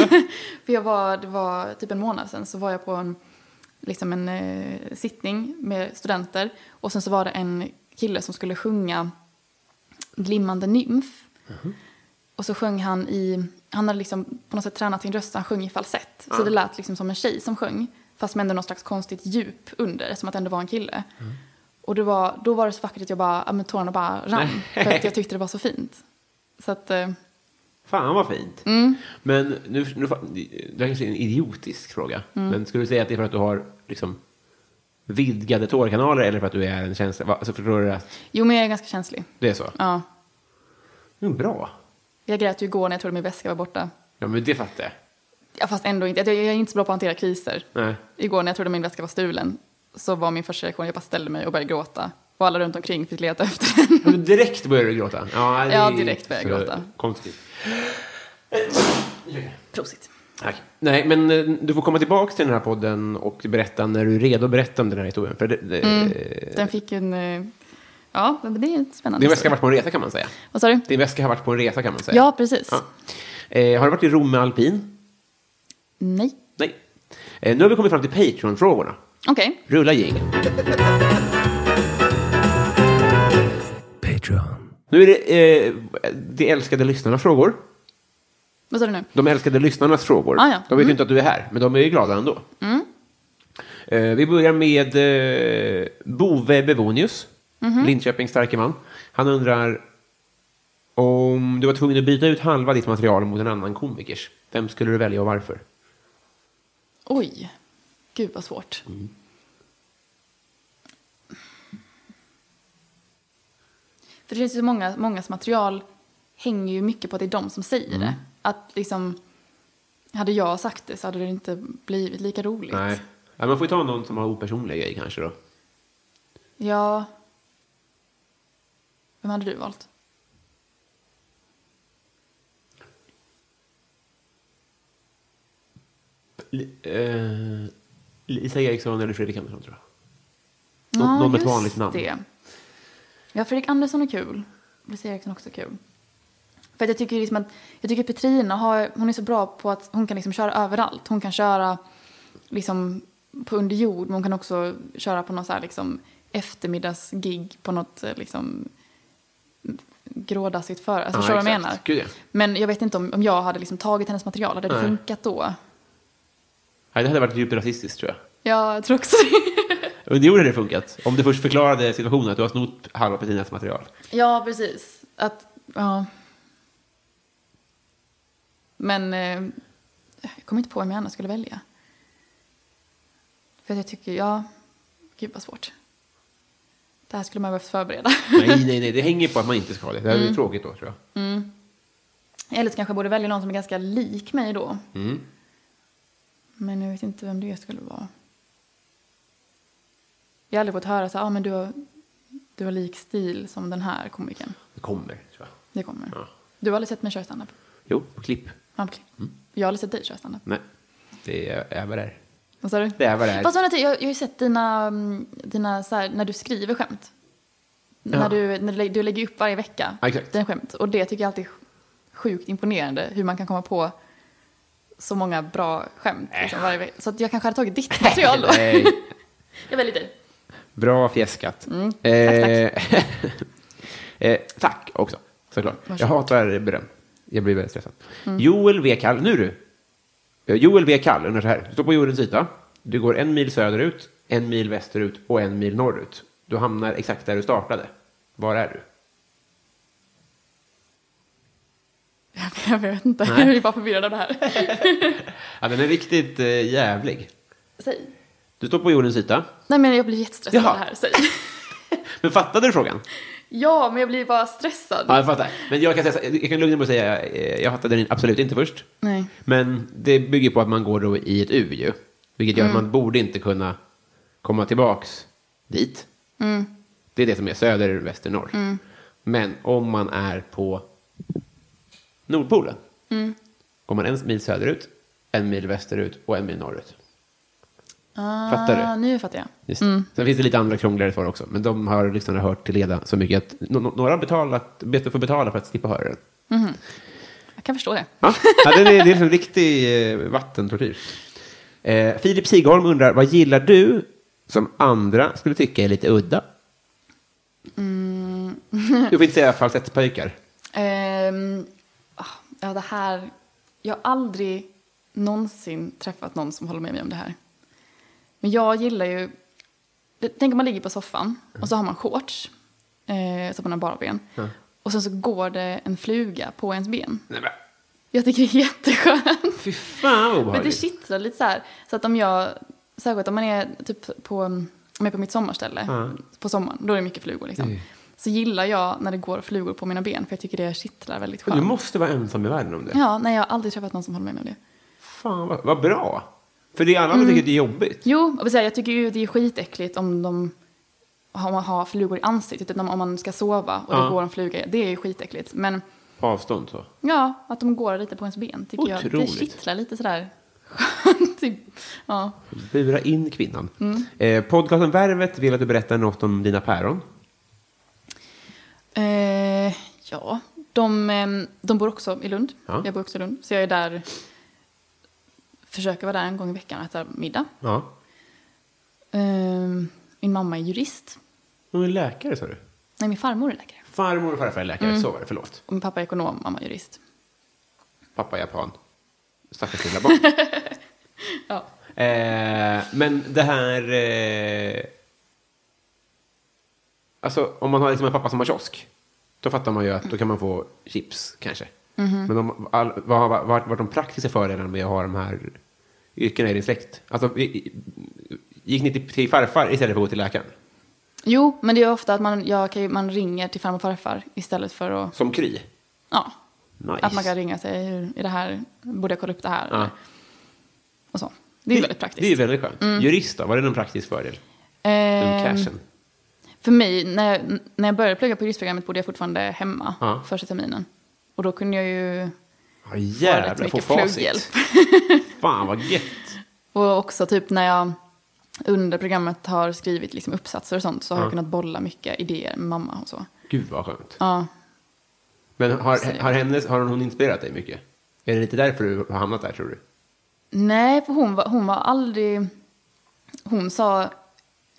C: För jag var, det var typ en månad sedan så var jag på en, liksom en eh, sittning med studenter. Och sen så var det en kille som skulle sjunga Glimmande nymf. Och så sjöng han i, han hade liksom på något sätt tränat sin röst, han sjöng i falsett. Så det lät liksom som en tjej som sjöng, fast med ändå någon slags konstigt djup under, som att det ändå var en kille. Och det var, då var det så vackert att jag bara, ja, men tårarna bara rann, för att jag tyckte det var så fint. Så att, eh,
B: Fan vad fint.
C: Mm.
B: Men nu, nu, det är kanske en idiotisk fråga.
C: Mm.
B: Men skulle du säga att det är för att du har liksom vidgade tårkanaler eller för att du är en känsla? va- Alltså förstår du att
C: jo men jag är ganska känslig.
B: det är så?
C: Ja.
B: Mm, bra.
C: Jag grät ju igår när jag trodde min väska var borta.
B: Ja, men det fattar jag.
C: Ja, fast ändå inte, jag, jag är inte så bra på att hantera kriser.
B: Nej.
C: Igår när jag trodde min väska var stulen så var min första reaktion, jag bara ställde mig och började gråta. Och alla runt omkring fick leta efter den.
B: Ja, men direkt börjar du gråta? Ja, det
C: Ja,
B: är
C: direkt börjar jag
B: så
C: gråta. Eh,
B: Konstigt.
C: Prosit.
B: Tack. Nej, men eh, du får komma tillbaka till den här podden och berätta när du är redo att berätta om den här historien. För det, det,
C: Mm. Den fick ju en... eh, Ja, men det är en spännande.
B: Din väska har
C: historia.
B: varit på en resa kan man säga.
C: Vad sa du?
B: Din väska har varit på en resa kan man säga.
C: Ja, precis.
B: Ja. Eh, har du varit i Rom med alpin?
C: Nej.
B: Nej. Eh, nu har vi kommit fram till Patreon-frågorna.
C: Okej.
B: Rulla jing.
E: Patreon.
B: Nu är det eh, de älskade lyssnarnas frågor.
C: Vad sa du nu?
B: De älskade lyssnarnas frågor.
C: Ah, ja. Mm.
B: De vet ju inte att du är här, men de är ju glada ändå. Eh, vi börjar med eh, Bove Bevonius,
C: Mhm.
B: Linköpings starke man. Han undrar om du var tvungen att byta ut halva ditt material mot en annan komikers. Vem skulle du välja och varför?
C: Oj. Gud vad svårt. För det finns ju så många, mångas material hänger ju mycket på att det är de som säger det. Att liksom, hade jag sagt det så hade det inte blivit lika roligt.
B: Nej. Ja, man får ju ta någon som har opersonliga grejer kanske då.
C: Ja. Vem hade du valt?
B: Li- eh, Lisa Eriksson eller Fredrik Andersson tror jag. Nå-
C: Ja,
B: någon med ett
C: just
B: vanligt namn.
C: Det. Ja, Fredrik Andersson är kul. Lisa Eriksson är också kul. För att jag tycker liksom att, jag tycker Petrina har, hon är så bra på att hon kan liksom köra överallt. Hon kan köra liksom på under jord, men hon kan också köra på någon så här liksom eftermiddagsgig på något eh, liksom grådassigt för. Alltså
B: Ja,
C: förstår du vad jag
B: exakt. Gud,
C: menar?
B: ja.
C: Men jag vet inte om, om jag hade liksom tagit hennes material, hade det
B: Nej.
C: funkat då?
B: Nej, det hade varit djupt rasistiskt tror jag.
C: Ja, jag tror också det.
B: Och det gjorde det funkat. Om du först förklarade situationen att du har snott halva Petinas material.
C: Ja, precis. Att, ja. Men eh, jag kommer inte på vem jag annars skulle välja. För att jag tycker, ja, gud vad svårt. Det här skulle man behövt förbereda.
B: Nej, nej, nej, det hänger på att man inte ska ha det. Det här är ju tråkigt då tror jag.
C: Eller så kanske jag borde välja någon som är ganska lik mig då. Men jag vet inte vem det skulle vara. Jag har aldrig fått höra så här, ah, men du har, du har lik stil som den här komikern.
B: Det kommer, tror jag.
C: Det kommer.
B: Ja.
C: Du har aldrig sett mig köra standup?
B: Jo, på klipp.
C: Ah, Ja, okej. Jag har aldrig sett dig köra standup.
B: Nej. det är över där.
C: Vad sa du?
B: Det är vad det är.
C: Fast å andra sidan, jag, jag har ju sett dina, mm, dina så här, när du skriver skämt.
B: Ja.
C: När, du, när du, lä- du lägger upp varje vecka.
B: Ja, exakt.
C: Dina skämt. Och det tycker jag alltid är sjukt imponerande. Hur man kan komma på så många bra skämt. Liksom, varje vecka. Så att jag kanske hade tagit ditt material då.
B: Eh. Nej,
C: jag väljer dig.
B: bra fjäskat. Mm, tack, tack. eh, tack också, såklart. Jag hatar beröm. Jag blir väldigt stressad. Joel V. Kall, nu du. Eh, Joel V. Kall undrar så här. Du står på jordens yta. Du går en mil söderut, en mil västerut och en mil norrut. Du hamnar exakt där du startade. Var är du?
C: Jag vet inte. Jag blir bara förvirrad av det här.
B: Ja, den är riktigt eh, jävlig.
C: Säg.
B: Du står på jordens yta.
C: Nej men jag blir jättestressad
B: Jaha.
C: av det här. Säg.
B: Men fattade du frågan?
C: Ja, men jag blir bara stressad.
B: Ja, jag fattar. Men jag kan, säga, jag kan lugna mig och säga, eh, jag fattade den absolut inte först.
C: Nej.
B: Men det bygger på att man går då i ett U ju. Vilket gör
C: Mm.
B: att man borde inte kunna komma tillbaks dit.
C: Mm.
B: Det är det som är söder, väster, norr. Men om man är på Nordpolen.
C: Mm.
B: Går man en mil söderut, en mil västerut och en mil norrut.
C: Ah,
B: Fattar du?
C: Nu fattar jag.
B: Just. det. Sen finns det lite andra krångligare svar också, men de har lyssnarna hört till leda så mycket att no- no- några har betalat, bett får betala för att slippa höra den.
C: Jag kan förstå det.
B: Ja, ja det, är, det är liksom riktig eh, vattentortyr. Eh, Filip Sigholm undrar, vad gillar du som andra skulle tycka är lite udda?
C: Mm.
B: Du får inte säga falsettpöjkar.
C: Ehm, ah, ja, det här... Jag har aldrig någonsin träffat någon som håller med mig om det här. Men jag gillar ju... det- Tänk om man ligger på soffan och så har man shorts, eh, så att man har bara ben. Och sen så går det en fluga på ens ben.
B: Nej, men,
C: Jag tycker det är jätteskönt.
B: Fy fan vad
C: Men det
B: obehagligt.
C: kittlar lite så här. Så att om jag, särskilt om man är typ på, om jag är på mitt sommarställe på sommaren, då är det mycket flugor
B: Mm.
C: liksom. Så gillar jag när det går flugor på mina ben för jag tycker det kittlar väldigt
B: Men Du
C: skönt.
B: måste vara ensam i världen om det.
C: Ja, nej jag har aldrig träffat någon som håller med mig om det.
B: Fan vad, vad bra. För det är
C: Mm.
B: alla som tycker att det är jobbigt.
C: Jo, jag vill säga, jag tycker ju det är skitäckligt om de om man har flugor i ansiktet, utan om man ska sova och
B: Ja.
C: det går en fluga, det är ju skitäckligt. Men
B: På avstånd så.
C: ja, att de går lite på ens ben tycker jag, det
B: Otroligt.
C: kittlar lite sådär skönt. typ. Ja.
B: Bura in kvinnan. Eh, podcasten Värvet vill att du berättar något om dina päron.
C: Eh, ja, de, ehm, de bor också i Lund.
B: Ja.
C: Jag bor också i Lund. Så jag är där, försöker vara där en gång i veckan och äta middag.
B: Ja.
C: Ehm, min mamma är jurist.
B: Hon är läkare sa du.
C: Nej, min farmor är läkare.
B: Farmor och farfar är läkare, så var det, förlåt.
C: Och min pappa är ekonom, mamma är jurist.
B: Pappa är japan. Stackars lilla barn.
C: Ja.
B: eh, men det här... Eh, alltså, om man har liksom en pappa som har kiosk, då fattar man ju att då kan man få chips, kanske. Men om, all, vad har vad har varit de praktiska fördelarna med att ha de här yrkena i din släkt? Alltså, i- i- gick ni till, till farfar istället för att gå till läkaren?
C: Jo, men det är ofta att man, jag kan, ju- man ringer till farmor och farfar istället för att...
B: Som kry?
C: Ja,
B: Nice.
C: att man kan ringa och säga, hur är det här? Borde jag kolla upp det här?
B: ja.
C: Och så. Det är ju väldigt praktiskt.
B: Det är väldigt skönt. Jurist då, var det någon praktisk fördel? Den
C: Mm. Ehm,
B: cashen?
C: För mig, när jag, när jag började plugga på juristprogrammet bodde jag fortfarande hemma
B: Ja.
C: första terminen. Och då kunde jag ju
B: Ja,
C: ha rätt
B: jävlar, få
C: mycket
B: facit.
C: plugghjälp.
B: Fan vad gött.
C: Och också typ när jag under programmet har skrivit liksom uppsatser och sånt så har jag kunnat bolla mycket idéer med mamma och så.
B: Gud vad skönt.
C: Ja,
B: Men har, har, hennes, har hon inspirerat dig mycket? Är det lite därför du har hamnat där tror du?
C: Nej, för hon var, hon var aldrig... Hon sa...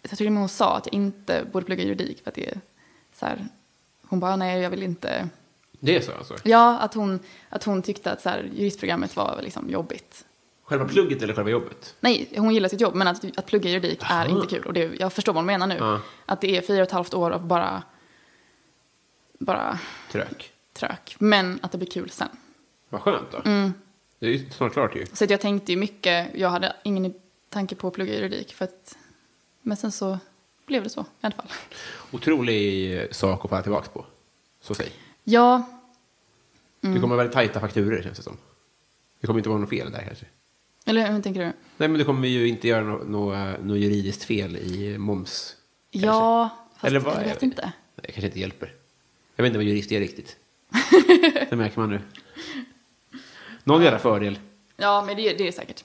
C: Jag tror till och med hon sa att jag inte borde plugga juridik för att det är så här... Hon bara, nej, jag vill inte...
B: Det är så alltså?
C: Ja, att hon, att hon tyckte att så här, juristprogrammet var liksom jobbigt.
B: Själva plugget eller själva jobbet?
C: Nej, hon gillar sitt jobb, men att, att plugga juridik är inte kul. Och det, jag förstår vad hon menar nu.
B: Ja.
C: Att det är fyra och ett halvt år av bara, bara
B: Trök.
C: trök. Men att det blir kul sen.
B: Vad skönt då.
C: Mm.
B: Det är ju snart klart ju.
C: Så att jag tänkte ju mycket, jag hade ingen tanke på att plugga juridik. För att, men sen så blev det så i alla fall.
B: Otrolig eh, sak att falla tillbaka på. Så säg.
C: Ja,
B: Det
C: Mm.
B: kommer väldigt tajta fakturer känns det som. Det kommer inte vara något fel där kanske.
C: eller hur tänker du?
B: Nej men du kommer ju inte göra något no, no juridiskt fel i moms. kanske.
C: Ja, fast
B: Eller
C: eller
B: vad-
C: jag vet inte.
B: Det kanske inte hjälper. Jag vet inte vad jurist är riktigt. Det märker man nu. Någon jävla fördel.
C: Ja, men det, det är säkert.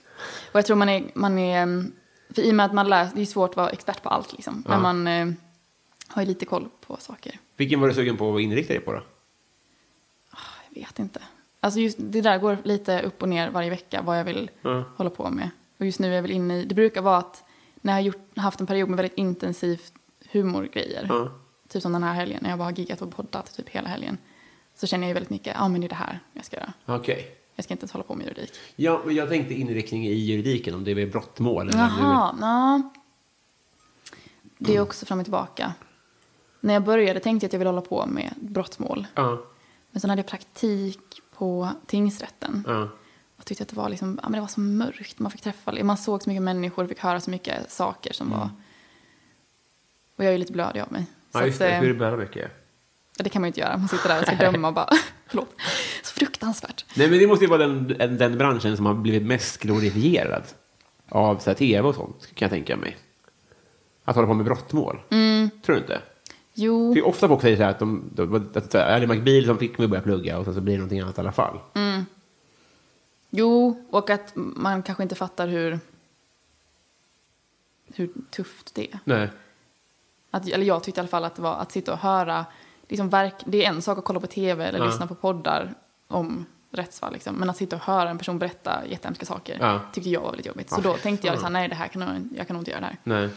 C: Och jag tror man är, man är... ehm, För i och med att man lär... Det är svårt att vara expert på allt liksom. Men man eh, har ju lite koll på saker.
B: Vilken var du sugen på att inrikta dig på då?
C: Jag vet inte. Alltså just det där går lite upp och ner varje vecka vad jag vill
B: Ja.
C: hålla på med. Och just nu är jag väl inne i, det brukar vara att när jag har gjort, haft en period med väldigt intensivt humorgrejer,
B: Ja.
C: typ som den här helgen när jag bara har giggat och poddat typ hela helgen, så känner jag ju väldigt mycket, ja ah, men det är det här jag ska göra.
B: Okej.
C: Jag ska inte ens hålla på med juridik.
B: Ja, men jag tänkte inriktning i juridiken, om det är brottmål. Eller
C: Jaha, nå. Det är också fram och tillbaka. När jag började tänkte jag att jag ville hålla på med brottmål.
B: Ja,
C: Men sen hade jag praktik på tingsrätten.
B: ja.
C: Jag tyckte att det var, liksom, ja, men det var så mörkt. Man fick träffa, man såg så mycket människor, fick höra så mycket saker som var... Och jag är ju lite blödig av mig. Så
B: Mm. ja just
C: att,
B: det.
C: eh,
B: Hur börjar mycket?
C: ja, det kan man ju inte göra. Man sitter där och ska döma och bara... Förlåt. Så fruktansvärt.
B: Nej, men det måste ju vara den, en- den branschen som har blivit mest glorifierad av så här, tv och sånt, kan jag tänka mig. Att hålla på med brottmål. Tror du inte?
C: Jo,
B: För ofta folk säger så här att de, de, de, att så här, Ally McBeal som fick mig att börja plugga och sen så blir det någonting annat i alla fall.
C: jo, och att man kanske inte fattar hur... Hur tufft det är.
B: Nej.
C: Att, eller jag tyckte i alla fall att det var att sitta och höra. Liksom verk, det är en sak att kolla på tv eller
B: Ja.
C: lyssna på poddar om rättsfall. Liksom. Men att sitta och höra en person berätta jättehemska saker
B: Ja.
C: tyckte jag var väldigt jobbigt. Så
B: Ja, Mm.
C: då
B: fy
C: tänkte jag så här,
B: fan.
C: nej det här kan nog, jag kan nog inte göra det här.
B: Nej.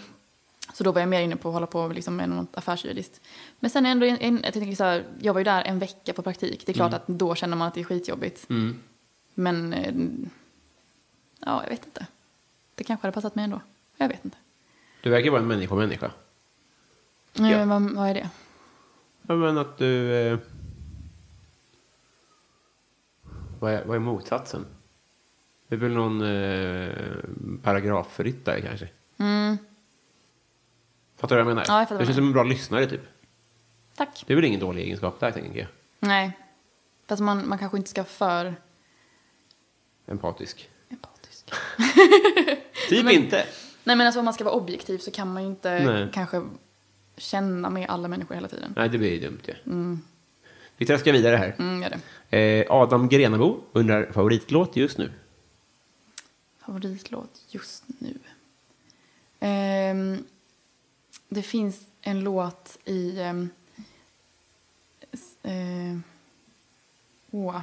C: Så då var jag mer inne på att hålla på liksom, med något affärsjuridiskt. Men sen ändå, en, en, jag, tänker så här, jag var ju där en vecka på praktik. Det är
B: Mm.
C: klart att då känner man att det är skitjobbigt. Men eh, ja, jag vet inte. Det kanske hade passat mig ändå. Jag vet inte.
B: Du verkar vara en människomänniska.
C: Ja.
B: Ja.
C: Eh, vad, vad är det?
B: Ja, men att du... Eh... Vad, är, vad är motsatsen? Det är väl någon eh, paragrafryttare kanske? Fattar du vad jag menar?
C: Mm. Ja, jag fattar vad
B: du
C: du
B: känns som en bra lyssnare typ.
C: Tack.
B: Det är väl ingen dålig egenskap där, tänker jag.
C: Nej. Fast man, man kanske inte ska vara för
B: Empatisk.
C: empatisk.
B: Typ inte.
C: Nej men alltså om man ska vara objektiv så kan man ju inte
B: Nej.
C: kanske känna med alla människor hela tiden.
B: Nej, det blir ju dumt ju. Vi traskar vidare här.
C: Mm, gör det.
B: Eh, Adam Grenabo undrar favoritlåt just nu.
C: Favoritlåt just nu. Ehm, det finns en låt i... ehm, s- ehm, åh.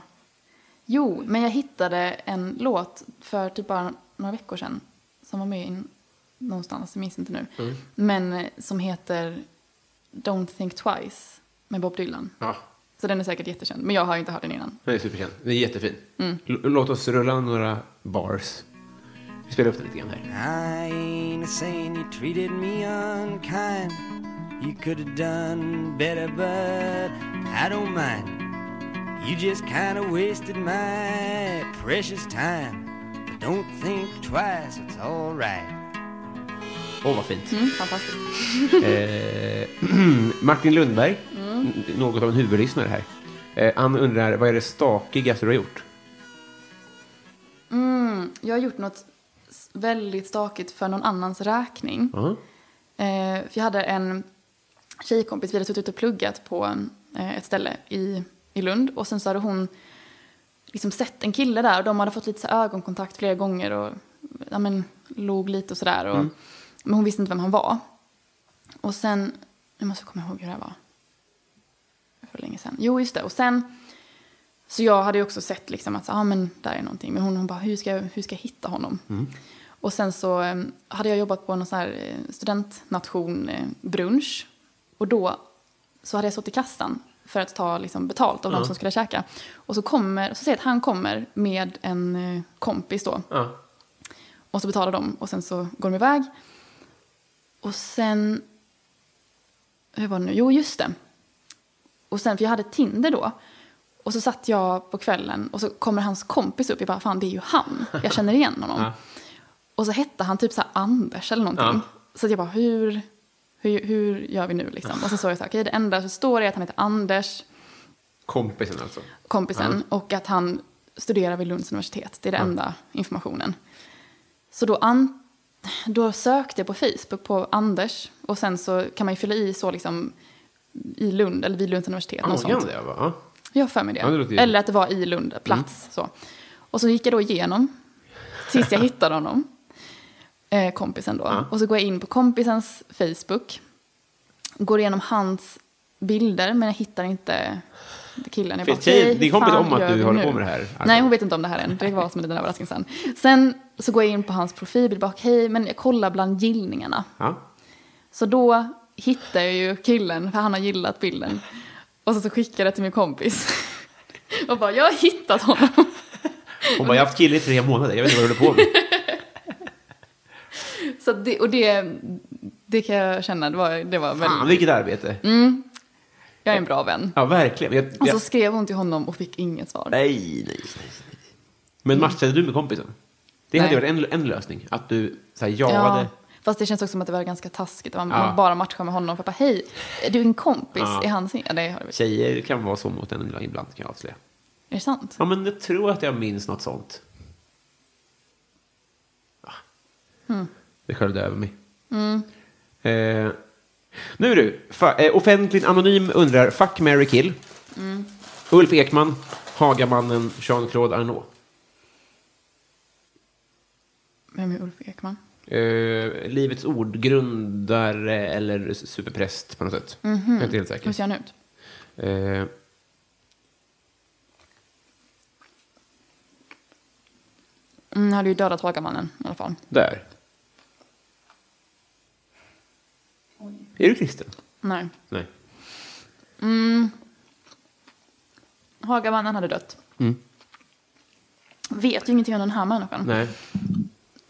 C: Jo, men jag hittade en låt för typ bara några veckor sedan som var med i en- någonstans, jag minns inte nu.
B: Mm.
C: Men eh, som heter Don't think twice med Bob Dylan.
B: Ja,
C: Så den är säkert jättekänd, men jag har inte hört den innan.
B: den är superkänd. Den är jättefin.
C: Mm.
B: L- låt oss rulla några bars. Vi spelar upp den lite grann här.
E: I ain't a saying you treated me unkind. You could have done better, but I don't mind. You just kinda wasted my precious time. But don't think twice, it's alright.
B: Åh, vad fint.
C: Mm, fantastiskt. Mm.
B: Eh, Martin Lundberg, n- något av en huvudlyssnare här. Eh, han undrar, vad är det stakigaste du har gjort?
C: Mm, jag har gjort något s- väldigt stakigt för någon annans räkning.
B: Ja.
C: Eh, för jag hade en tjejkompis, vi hade suttit och pluggat på eh, ett ställe i, i Lund och sen så hade hon liksom sett en kille där och de hade fått lite så här ögonkontakt flera gånger och ja, men, låg lite och sådär. och Men hon visste inte vem han var. Och sen, nu måste jag komma ihåg hur det här var. För länge sedan. Jo, just det. Och sen, så jag hade ju också sett liksom att, ja ah, men där är någonting. Men hon, hon bara, hur ska, jag- hur ska jag hitta honom? Och sen så eh, hade jag jobbat på någon sån här eh, studentnation eh, brunch. Och då så hade jag stått i kassan för att ta liksom, betalt av de som skulle käka. Och så kommer, så ser jag att han kommer med en eh, kompis då.
B: Ja.
C: Och så betalar de och sen så går de iväg. Och sen... Hur var det nu? Jo, just det. Och sen, för jag hade Tinder då. Och så satt jag på kvällen och så kommer hans kompis upp. Jag bara, fan det är ju han. Jag känner igen honom.
B: Ja.
C: Och så hette han typ så här Anders eller någonting.
B: Ja.
C: Så att jag bara, hur, hur, hur gör vi nu liksom? Och sen såg jag så här, okej det enda som står är att han heter Anders
B: Kompisen alltså.
C: kompisen och att han studerar vid Lunds universitet. Det är den enda informationen. Så då, an, då sökte jag på Facebook på Anders och sen så kan man ju fylla i så liksom i Lund eller vid Lunds universitet.
B: Ja,
C: något
B: man kan
C: sånt.
B: det, va? Ja.
C: Jag har för mig det.
B: Ja, det låter ju- Mm.
C: eller att det var i Lund, plats. Så. Och så gick jag då igenom Tills jag hittade honom, eh, kompisen då. Och så går jag in på kompisens Facebook, går igenom hans bilder, men jag hittar inte killen. Jag
B: Vet
C: bara,
B: tjejen-
C: "Hej,
B: din
C: hur
B: kompis
C: fan
B: om att
C: gör
B: du
C: vi
B: håller
C: nu?"
B: på med det här?
C: Nej, hon vet inte om det här än. Det var som en liten överraskning sen. Sen så går jag in på hans profilbild, bara okej, men jag kollar bland gillningarna.
B: Ja.
C: Så då hittar jag ju killen, för han har gillat bilden. Och så, så skickar jag det till min kompis. Och bara, jag har hittat honom.
B: Hon bara, jag har haft kille i tre månader, jag vet inte vad du håller på med.
C: Så att det, och det, det kan jag känna, det var, det var väl,
B: Fan, vilket arbete.
C: Mm. jag är en bra vän.
B: Ja, verkligen. Jag, jag,
C: Och så skrev hon till honom och fick inget svar.
B: Nej, nej, nej. nej. Men matchade du med kompisen? Det hade
C: Mm. Nej.
B: varit en, en lösning. Att du så här, jagade.
C: Fast det känns också som att det var ganska taskigt. att Man,
B: Ja.
C: man bara matchar med honom för att bara, hej, är du en kompis?
B: Ja.
C: Är han singel? Ja, det har det
B: Tjejer kan vara så mot en ibland, kan jag avslöja.
C: Är det sant?
B: Ja, men jag tror att jag minns något sånt. Ah. Det sköljde över mig. Eh, nu du, fa- eh, offentligt anonym undrar, fuck, Mary kill. Ulf Ekman, Hagamannen, Jean-Claude Arnault.
C: Vem är Ulf Ekman?
B: Eh, livets ord, grundare eller superpräst på något sätt. Jag är inte helt
C: Hur
B: säker.
C: ser han ut?
B: Eh,
C: Mm, han hade ju dödat Hagamannen i alla fall.
B: där. Är du kristen?
C: Nej.
B: Nej.
C: Hagamannen hade dött. Vet ju ingenting om den här människan.
B: Mm. Nej.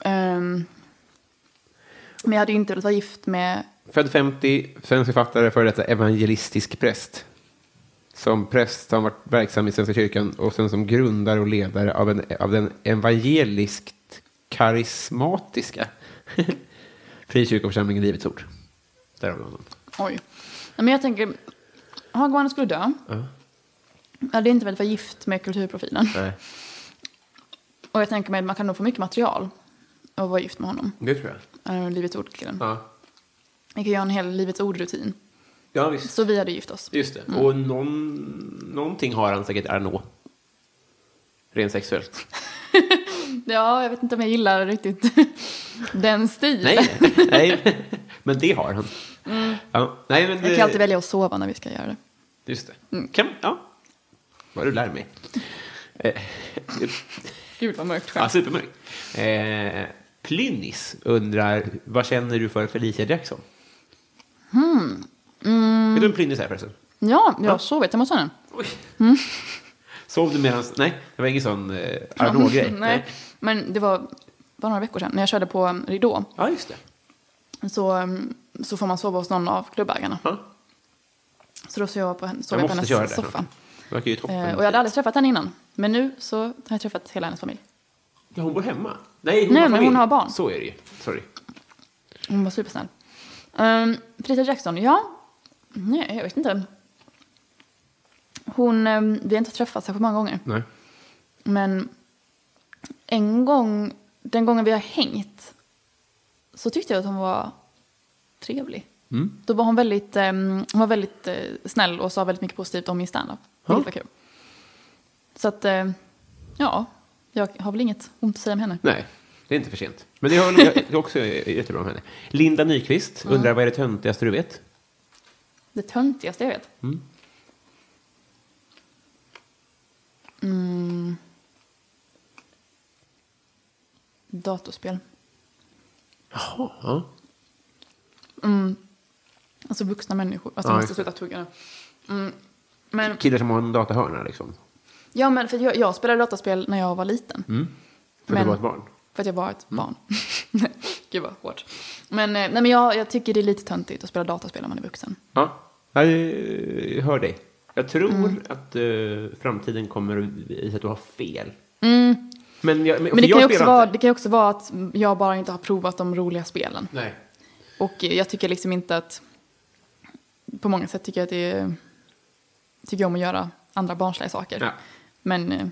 C: Ehm, men jag hade ju inte velat vara gift med...
B: Född 50, svensk författare, före detta evangelistisk präst. Som präst har han varit verksam i Svenska kyrkan och sen som grundare och ledare av, en, av den evangeliskt karismatiska frikyrkoförsamlingen Livets Ord. Där har vi honom.
C: Oj. Nej, Men jag tänker, Hagamannen skulle dö. Jag hade inte velat vara gift med kulturprofilen.
B: Nej,
C: Och jag tänker mig att man kan nog få mycket material av att vara gift med honom.
B: det tror jag.
C: Uh, livets ord-killen.
B: Ja,
C: Vi kan göra en hel Livets ord-rutin.
B: ja visst.
C: Så vi hade gift oss.
B: Just det. Och någon, någonting har han säkert Arnault. Rent sexuellt.
C: Ja, jag vet inte om jag gillar riktigt den stilen.
B: Nej, nej. Men det har han. Ja, nej, men
C: Mm. Jag
B: det-
C: kan alltid välja att sova när vi ska göra det.
B: Just det.
C: Mm.
B: Kan, ja. Vad du lär mig. Eh,
C: Gud vad mörkt
B: ja,
C: skämt.
B: supermörkt. Eh, Plynnis undrar, vad känner du för Felicia Jackson?
C: Hmm. Mm.
B: Vet du vem Plynnis är förresten?
C: Ja, jag har sovit. Jag måste ha den.
B: Oj. Sov du medans... Nej, det var ingen sån eh, Arnault-grej.
C: Nej, men det var bara några veckor sedan när jag körde på um, ridå.
B: Ja, just det.
C: Så, um, så får man sova hos någon av klubbägarna.
B: Ja.
C: Så då sov jag på, hen- sov
B: Jag
C: jag på
B: måste
C: hennes
B: köra det. Mm.
C: soffa.
B: Det verkar ju toppen.
C: Eh, och jag hade aldrig träffat henne innan. Men nu så har jag träffat hela hennes familj.
B: Ja, hon bor hemma. Nej, hon,
C: Nej,
B: har
C: men
B: familj.
C: hon har barn.
B: Så är det ju. Sorry.
C: Hon var supersnäll. Um, Felicia Jackson, ja. Nej, jag vet inte. Hon, um, vi har inte träffats särskilt många gånger.
B: Nej.
C: Men en gång, den gången vi har hängt, så tyckte jag att hon var trevlig. Då var hon väldigt, eh, hon var väldigt eh, snäll och sa väldigt mycket positivt om min standup. Vilket var kul. Så att, eh, ja, jag har väl inget ont att säga om henne.
B: Nej, det är inte för sent. Men det har jag- det är också jättebra med henne. Linda Nyqvist undrar, vad är det töntigaste du vet?
C: Det töntigaste jag vet. Mm. Mm. Datorspel.
B: Jaha. Ja.
C: Alltså vuxna människor. Alltså
B: Ja,
C: jag
B: just
C: måste
B: det.
C: sluta tugga nu. Mm. Men,
B: Killar som har en datahörna, liksom.
C: ja, men för jag, jag spelade dataspel när jag var liten.
B: Mm. För att
C: Men-
B: du var ett barn. Mm.
C: För att jag var ett barn. Gud vad hårt. Men, eh, nej, men jag, jag tycker det är lite töntigt att spela dataspel när man är vuxen.
B: Ja, jag eh, hör dig. Mm. Jag tror att eh, framtiden kommer att visa att du har fel. Men, jag, men,
C: Mm. Men det
B: jag
C: kan, ju också
B: spelar
C: vara,
B: inte.
C: det kan ju också vara att jag bara inte har provat de roliga spelen.
B: Nej.
C: Och eh, jag tycker liksom inte att... På många sätt tycker jag att det är... Tycker jag om att göra andra barnsliga saker.
B: Ja.
C: Men eh,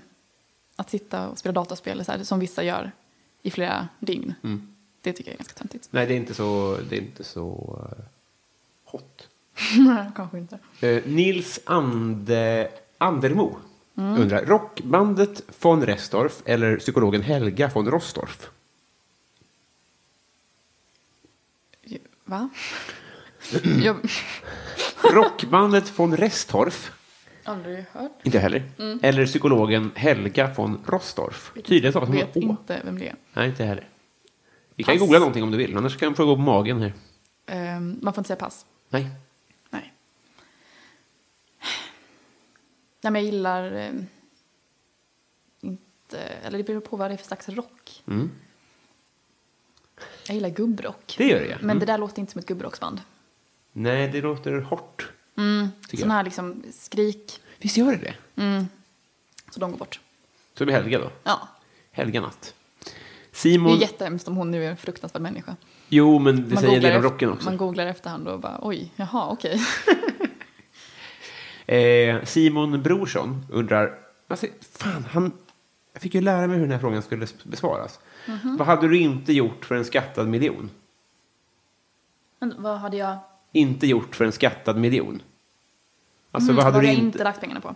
C: att sitta och spela dataspel, så här, som vissa gör i flera dygn, det tycker jag är ganska töntigt.
B: Nej, det är inte så, det är inte så eh, hot.
C: Kanske inte.
B: Eh, Nils Ande, Andermo
C: Mm.
B: Undrar, rockbandet von Restorff eller psykologen Helga von Rostorff?
C: Va? Jag
B: Rockbandet von Restorff?
C: har aldrig hört.
B: Inte heller. Eller psykologen Helga von Rostorff? Tydligen talas det
C: Mm. Vet
B: om Å.
C: inte vem det är.
B: Nej, inte heller. Vi kan googla någonting om du vill, annars kan du få gå på magen här.
C: Ehm, man får inte säga pass.
B: Nej.
C: Nej. Nej, men jag gillar eh, inte... Eller det beror på vad det är för slags rock. Jag gillar gubbrock.
B: Mm. Det gör Mm. det, ja.
C: Men det där låter inte som ett gubbrocksband.
B: Nej, det låter hårt. Tycker
C: Sån
B: jag.
C: här liksom skrik,
B: Visst gör det det?
C: så de går bort.
B: Så det blir Helga då.
C: Ja.
B: Helga Natt.
C: Det är
B: Simon...
C: ju jättehemskt om hon nu är en fruktansvärd människa.
B: Jo, men det säger en del om
C: ef-
B: rocken också.
C: man googlar efterhand och bara oj, jaha, okej.
B: Eh, Simon Brorsson undrar... Alltså, fan, han... Jag fick ju lära mig hur den här frågan skulle s- besvaras.
C: Mhm.
B: Vad hade du inte gjort för en skattad miljon?
C: Men vad hade jag,
B: Inte gjort för en skattad miljon? Alltså,
C: Mm,
B: vad hade
C: vad
B: du
C: jag
B: inte...
C: inte lagt pengarna på?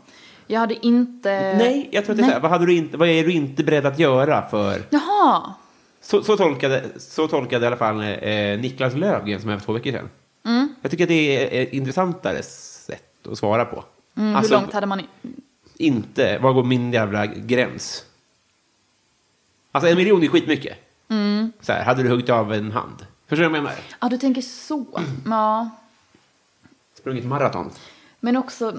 C: Jag hade inte...
B: Nej, jag tror att det är så här. Vad, hade du inte, vad är du inte beredd att göra för...
C: Jaha! Mm,
B: Så, så, tolkade, så tolkade i alla fall eh, Niklas Löfgren som är för två veckor sedan.
C: Mm.
B: Jag tycker att det är ett intressantare sätt att svara på. alltså,
C: Mm, Hur långt hade man... i-
B: inte, var går min jävla gräns? Alltså en miljon är skitmycket.
C: Mm.
B: Så här, hade du huggit av en hand? Förstår du vad jag menar?
C: Ja, du tänker så.
B: Mm.
C: Ja.
B: Sprungit maraton.
C: Men också...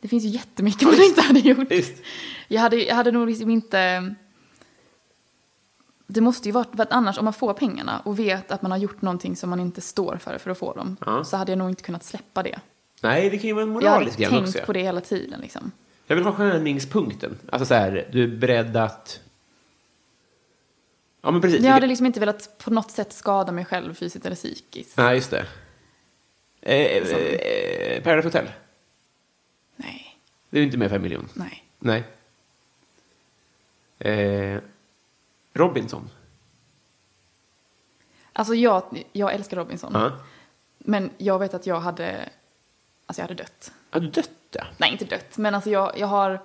C: Det finns ju jättemycket man inte hade gjort.
B: Visst.
C: Jag hade, jag hade nog liksom inte... Det måste ju vara, för att annars om man får pengarna och vet att man har gjort någonting som man inte står för för att få dem,
B: Ja.
C: så hade jag nog inte kunnat släppa det.
B: Nej, det kan ju vara en
C: Jag hade
B: moralisk gräns
C: tänkt
B: också.
C: på det hela tiden liksom.
B: Jag vill ha skärningspunkten. Alltså så här, du är beredd att... Ja, men precis.
C: Jag hade
B: Vilka-
C: liksom inte velat på något sätt skada mig själv fysiskt eller psykiskt.
B: Nej, just det. Eh, eh, eh, Paradise Hotel.
C: Nej,
B: Det är ju inte mer 5 miljoner.
C: nej.
B: Nej. Eh, Robinson.
C: Alltså jag, jag älskar Robinson.
B: Ja.
C: Men jag vet att jag hade, alltså jag hade dött.
B: Ja, du dötte.
C: Nej, inte dött, men alltså jag, jag har,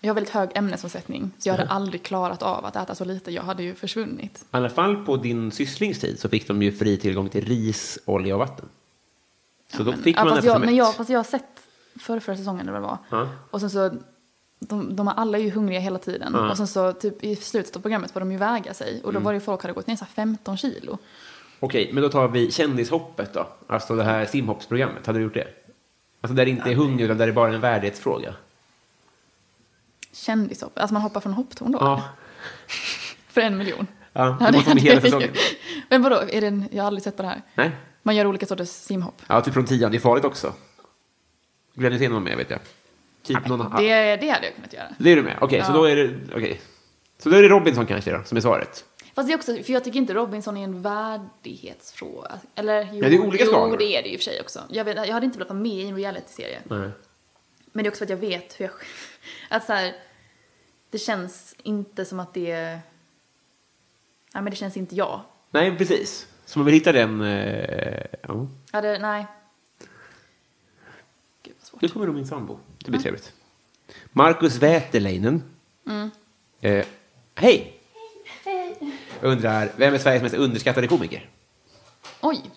C: jag har väldigt hög ämnesomsättning. Så jag hade aldrig klarat av att äta så lite. Jag hade ju försvunnit.
B: I alla fall på din sysslings tid så fick de ju fri tillgång till ris, olja och vatten. Så då fick
C: Ja,
B: man
C: fast jag,
B: eftersom
C: men jag,
B: ett.
C: fast jag har sett förra, förra säsongen eller vad det var.
B: Ja.
C: Och sen så, de, de är alla ju hungriga hela tiden.
B: Ja. Mm.
C: Och sen så typ i slutet av programmet var de ju väga sig. Och då var det ju folk hade gått ner så här 15 kilo.
B: Okej, men då tar vi kändishoppet då. Alltså det här simhoppsprogrammet. Hade du gjort det? Alltså där det inte är hunger utan där det bara är en värdighetsfråga.
C: Kändishopp, alltså man hoppar från hopptorn då.
B: Ja.
C: För en miljon.
B: Ja, du
C: det
B: måste vara med hela
C: hade jag ju.
B: säsongen.
C: Men vadå, är det en, jag har aldrig sett på det här.
B: Nej?
C: Man gör olika sorters simhopp.
B: Ja, typ från tian. Det är farligt också. Glenn Hysén var med vet jag. Typ någon...
C: Det, det hade jag kunnat göra.
B: Det är du med? Okej, så
C: Ja.
B: då är det... Okej. Så då är det Robinson kanske då, som är svaret.
C: Fast det är också, för jag tycker inte Robinson är en värdighetsfråga. Eller jo,
B: Nej, det är olika
C: jo
B: skalor.
C: det är det ju i och för sig också. Jag, vet, jag hade inte velat vara med i en realityserie.
B: Nej.
C: Men det är också för att jag vet hur jag... Att så här, det känns inte som att det är... Nej, men det känns inte jag.
B: Nej, precis. Så man vill hitta den... Eh, ja.
C: Ja, det, nej. Gud vad svårt.
B: Nu kommer då min sambo. Det blir trevligt. Markus Väterleinen. Eh, hej! Undrar, vem är Sveriges mest underskattade komiker?
C: Oj!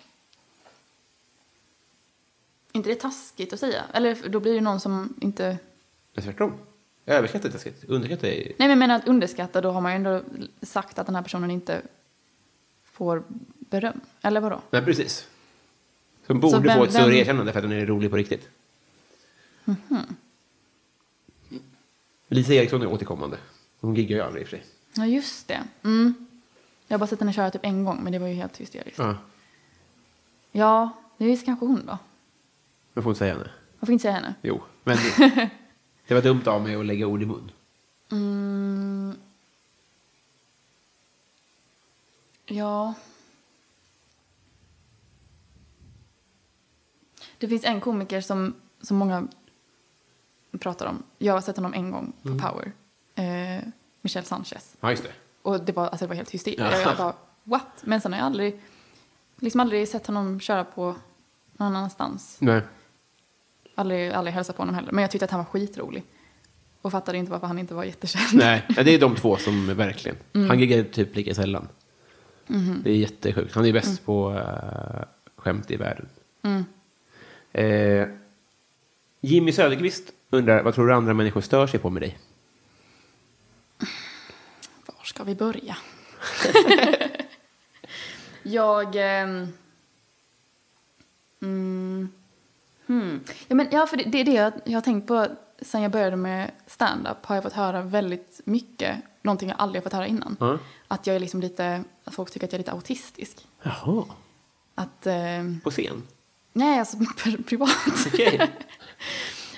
C: inte det taskigt att säga? Eller då blir det någon som inte...
B: Men tvärtom. Överskattad är taskigt. Underskattad är...
C: Nej, men jag menar att underskatta, då har man ju ändå sagt att den här personen inte får beröm. Eller vadå?
B: Nej, precis. Som borde
C: vem-
B: få ett större
C: vem- Mhm.
B: erkännande för att den är rolig på riktigt. Lisa Eriksson är återkommande. Hon giggar ju aldrig i och för sig.
C: Ja, just det. Mm. Jag har bara sett henne köra typ en gång, men det var ju helt hysteriskt.
B: Ja.
C: Ja, det är visst kanske hon då.
B: Men får inte säga henne.
C: Man får inte säga henne.
B: Jo, men det var dumt av mig att lägga ord i mun.
C: Mm. Ja. Det finns en komiker som, som många pratar om. Jag har sett honom en gång på Power. Eh, Michel Sanchez.
B: Ja, just det.
C: Och det var, alltså, det var helt hysteriskt.
B: Ja.
C: Jag bara, what? Men sen har jag aldrig, liksom aldrig sett honom köra på någon annanstans.
B: Nej.
C: aldrig, aldrig hälsat på honom heller. Men jag tyckte att han var skitrolig. Och fattade inte varför han inte var jättekänd.
B: Nej, ja, det är de två som verkligen. Han giggar typ lika sällan. Det är jättesjukt. Han är bäst på eh, skämt i världen. Eh, Jimmy Söderqvist undrar, vad tror du andra människor stör sig på med dig?
C: Var ska vi börja? jag... ehm, mm, hmm. ja, men, ja, för det, det är det jag, jag har tänkt på sen jag började med stand-up har jag fått höra väldigt mycket, någonting jag aldrig har fått höra innan.
B: Ja.
C: Att jag är liksom lite, att folk tycker att jag är lite autistisk.
B: Jaha,
C: Att, ehm,
B: på scen?
C: nej alltså pri- privat.
B: Okej.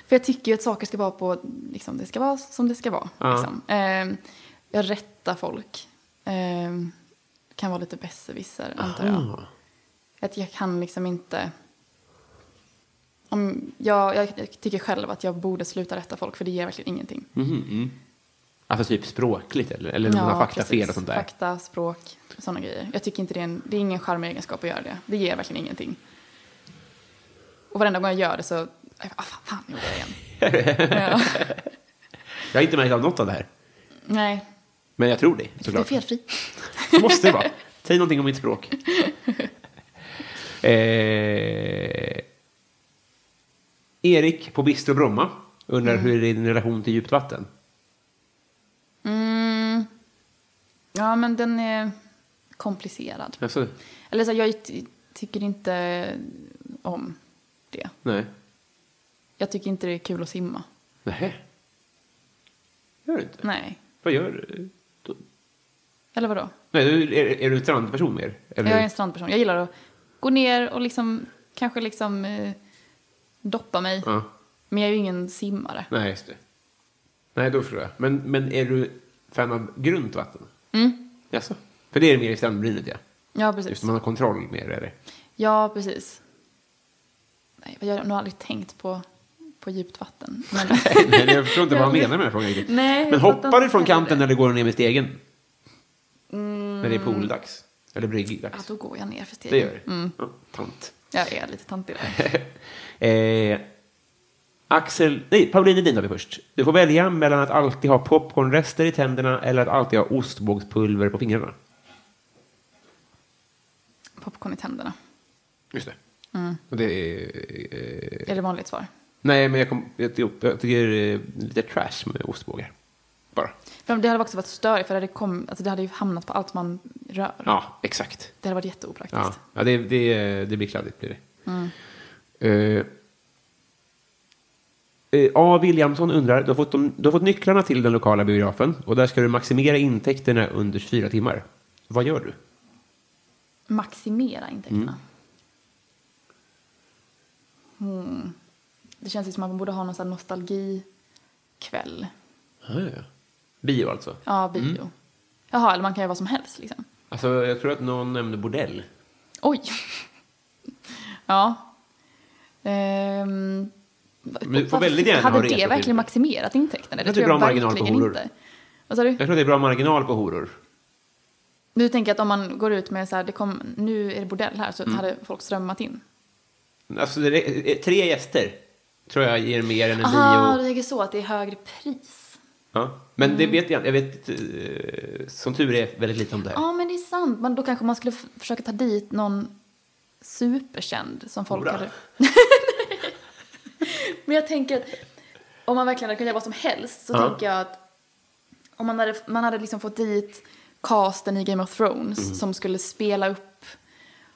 C: För jag tycker ju att saker ska vara på, liksom, det ska vara som det ska vara.
B: Ja.
C: Liksom. Eh, jag rättar folk. Eh, kan vara lite besserwisser, antar jag.
B: Ah.
C: Att jag kan liksom inte... Om jag, jag tycker själv att jag borde sluta rätta folk, för det ger verkligen ingenting.
B: Alltså Mm-hmm. typ språkligt eller? Mm. Eller ja, några faktafel och sånt där?
C: Fakta, språk, sådana grejer. Jag tycker inte det är, en, det är ingen charmig egenskap att göra det. Det ger verkligen ingenting. Och varenda gång jag gör det så... Ah, fan, fan, jag gjorde det igen. ja.
B: Jag har inte märkt av något av det här.
C: Nej,
B: Men jag tror dig,
C: du är
B: såklart.
C: felfri.
B: Så måste det vara. Säg någonting om mitt språk. Eh, Erik på Bistro Bromma undrar hur är din relation till djupt vatten?
C: Mm. Ja, men den är komplicerad.
B: Alltså,
C: Eller så här, jag ty- tycker inte om det.
B: nej.
C: Jag tycker inte det är kul att simma.
B: Nej. Gör du inte?
C: Nej.
B: Vad gör du? då?
C: Eller vadå?
B: Nej, du- är, är du en strandperson mer? Eller?
C: Jag är en strandperson. Jag gillar att gå ner och liksom, kanske liksom eh, doppa mig.
B: Ja.
C: Men jag är ju ingen simmare.
B: Nej, just det. Nej, då förstår jag. Men, men är du fan av grunt vatten?
C: Mm.
B: Jaså? För det är mer i strandbrynet, ja.
C: Ja, precis.
B: Just det, man har kontroll mer, är det.
C: Ja, precis. Nej, jag har nog aldrig tänkt på, på djupt vatten. Men...
B: Nej, jag förstår inte vad han menar med den här frågan riktigt.
C: Nej, jag
B: men hoppar
C: fattar
B: du från
C: inte heller
B: kanten
C: det.
B: eller går du ner med stegen? När det är pooldags? Eller bryggdags?
C: ja, då går jag Mm. ner för stegen.
B: det gör det. Ja, tant.
C: Jag är lite tantig där.
B: eh, Axel, nej, Pauline Edin har vi först. Du får välja mellan att alltid ha popcornrester i tänderna eller att alltid ha ostbågspulver på fingrarna.
C: popcorn i tänderna.
B: Just det.
C: Mm.
B: Och det är, eh,
C: Är det vanligt svar?
B: nej, men jag, kom, jag, tycker- jag tycker det är lite trash med ostbågar. Bara.
C: För det hade också varit störigt, för det hade, kom, alltså det hade ju hamnat på allt man rör.
B: Ja, exakt.
C: Det hade varit jätteopraktiskt.
B: Ja, ja det, det, det blir kladdigt. Blir det.
C: Mm.
B: Eh, eh, A. Williamson undrar, du har, fått de, du har fått nycklarna till den lokala biografen och där ska du maximera intäkterna under 24 timmar. Vad gör du?
C: Maximera intäkterna. Mm.
B: Mm.
C: Hmm. Det känns ju som att man borde ha någon sån här nostalgikväll.
B: Bio alltså.
C: Ja, bio. Jaha, eller man kan göra vad som helst liksom.
B: alltså. Jag tror att någon nämnde bordell.
C: Oj! ja. Ehm,
B: du får väldigt gärna ha
C: Hade
B: resor
C: det
B: till-
C: verkligen maximerat intäkterna?
B: Jag tror det är bra marginal på
C: verkligen
B: horor.
C: inte. Vad sa du?
B: Jag tror att det är bra marginal på horor.
C: Du tänker att om man går ut med så här, det kom, nu är det bordell här, så
B: Mm.
C: hade folk strömmat in?
B: Alltså, det är, eh, tre gäster tror jag ger mer än en
C: Aha, Mm.
B: bio.
C: det är så att det är högre pris.
B: Ja. Men det vet jag, jag vet, eh, som tur är, väldigt lite om det här.
C: Ja, men det är sant. Men då kanske man skulle f- försöka ta dit någon superkänd som folk
B: Hora.
C: hade... men jag tänker att om man verkligen hade kunnat göra vad som helst så
B: Ja.
C: tänker jag att om man hade, man hade liksom fått dit casten i Game of Thrones
B: Mm.
C: som skulle spela upp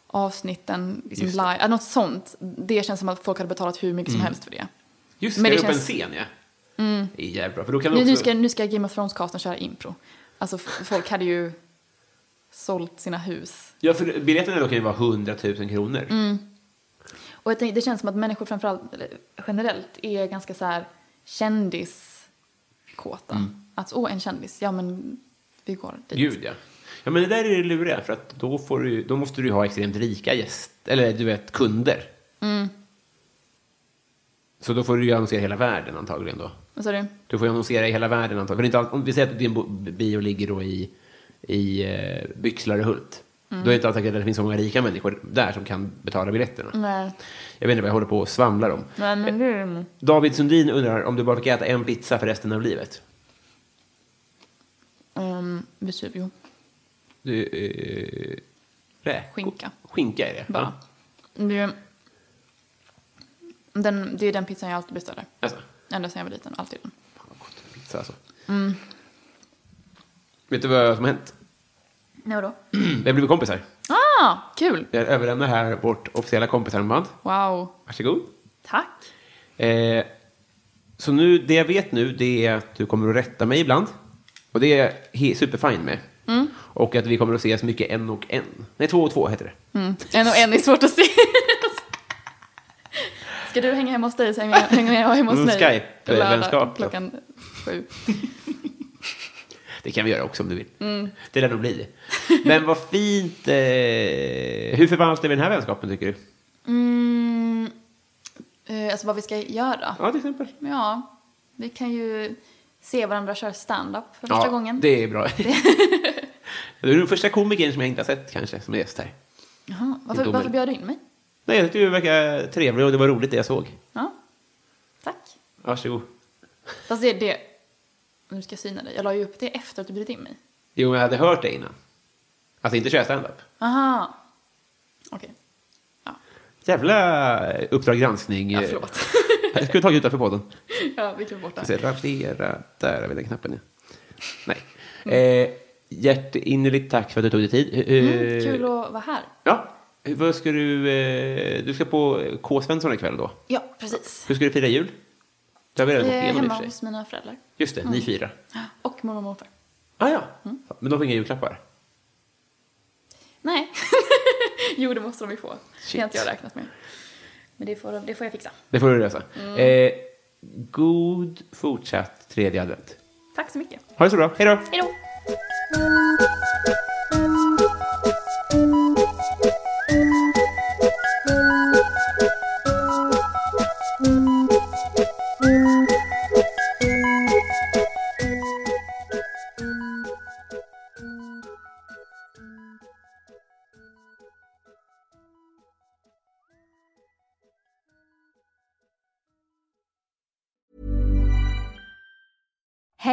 C: avsnitten liksom
B: Just
C: live,
B: det. Mm.
C: ja, något sånt. Det känns som att folk hade betalat hur mycket som helst för det.
B: Just
C: Men
B: det,
C: det
B: upp en
C: känns- Mm.
B: scen ja. Det är jävligt bra, för då kan du
C: Nu,
B: också...
C: nu, ska, nu ska Game of Thrones-casten köra impro. Alltså f- folk hade ju sålt sina hus.
B: Ja, för biljetterna då kan ju vara 100 000 kronor.
C: Mm. Och jag tänker, det känns som att människor framförallt, eller generellt, är ganska så här kändiskåta. Att åh, en kändis, ja men vi går dit.
B: Gud, ja. Ja, men det där är det luriga, för att då, får du, då måste du ju ha extremt rika gäster, eller du vet, kunder.
C: Mm.
B: Så då får du ju annonsera i hela världen antagligen då.
C: Vad sa du?
B: Du får ju annonsera i hela världen antagligen. För inte all, om vi säger att din bo- bio ligger då i, i eh, Byxlarehult.
C: Mm.
B: Då är inte alls säkert att det finns så många rika människor där som kan betala biljetterna.
C: Nej.
B: Jag vet inte vad jag håller på och svamlar om.
C: Nej, men det...
B: David Sundin undrar om du bara fick äta en pizza för resten av livet.
C: Um, Vesuvio.
B: Du, eh, räk-
C: Skinka.
B: Skinka är det.
C: Bara.
B: Ja.
C: Det, är, den, det är den pizzan jag alltid beställer.
B: Alltså,
C: Ända sedan jag var liten. Alltid den.
B: fan vad gott med pizza alltså. Vet du vad som har hänt?
C: Nej, vadå?
B: Vi har blivit kompisar.
C: Ah, kul!
B: Jag överlämnar här vårt officiella kompisarmband.
C: Wow.
B: Varsågod.
C: Tack.
B: Eh, så nu, det jag vet nu det är att du kommer att rätta mig ibland. Och det är jag he- superfine med.
C: Mm.
B: Och att vi kommer att ses mycket en och en. Nej, två och två heter det.
C: Mm. En och en är svårt att se. Ska du hänga hemma hos dig så hänger jag, hänger jag hemma hos
B: Mm,
C: mig.
B: Skype, eh,
C: Lördag
B: vänskap då.
C: Klockan sju.
B: Det kan vi göra också om du vill.
C: Mm.
B: Det lär nog bli. Men vad fint. Eh, hur förvaltar vi den här vänskapen tycker du?
C: Mm, eh, alltså vad vi ska göra.
B: Ja, till exempel.
C: Ja, vi kan ju se varandra köra stand-up för första
B: ja,
C: gången.
B: det är bra. du är den första komikern som jag inte har sett kanske, som är gäst här.
C: Jaha,
B: Inte
C: varför,
B: omöjligt.
C: varför bjöd du in mig?
B: Nej, jag tyckte du verkar trevlig och det var roligt det jag såg.
C: Ja, tack.
B: Varsågod.
C: Fast det är det... Nu ska jag syna dig. Jag la ju upp det efter att du bjudit in mig.
B: Jo, men jag hade hört det innan. Alltså inte köra standup.
C: Aha. Okej.
B: Jävla Uppdrag granskning.
C: Ja, förlåt.
B: Jag skulle tagit utanför podden.
C: ja, vi kan bort det.
B: Så
C: här.
B: radera, där har vi den knappen. Ja. Nej. Eh, hjärtinnerligt tack för att du tog dig tid. Eh,
C: Mm, kul att vara här.
B: Ja. Vad ska du... Eh, du ska på K. Svensson ikväll då.
C: Ja, precis.
B: Hur ska du fira jul? Det har vi
C: Jag
B: redan gått
C: är
B: igenom i och
C: Eh, hemma
B: för sig.
C: hos Mm. mina föräldrar.
B: Just det, ni fyra.
C: Och mormor och morfar.
B: Ah, ja.
C: Mm.
B: Men de får inga julklappar.
C: Nej. jo, det måste de ju få. Det
B: Shit.
C: har inte jag räknat med. Men det får, de- det får jag fixa.
B: Det får du lösa.
C: Mm.
B: Eh, god fortsatt tredje advent.
C: Tack så mycket.
B: Ha det så bra. Hej då!
C: Hej då!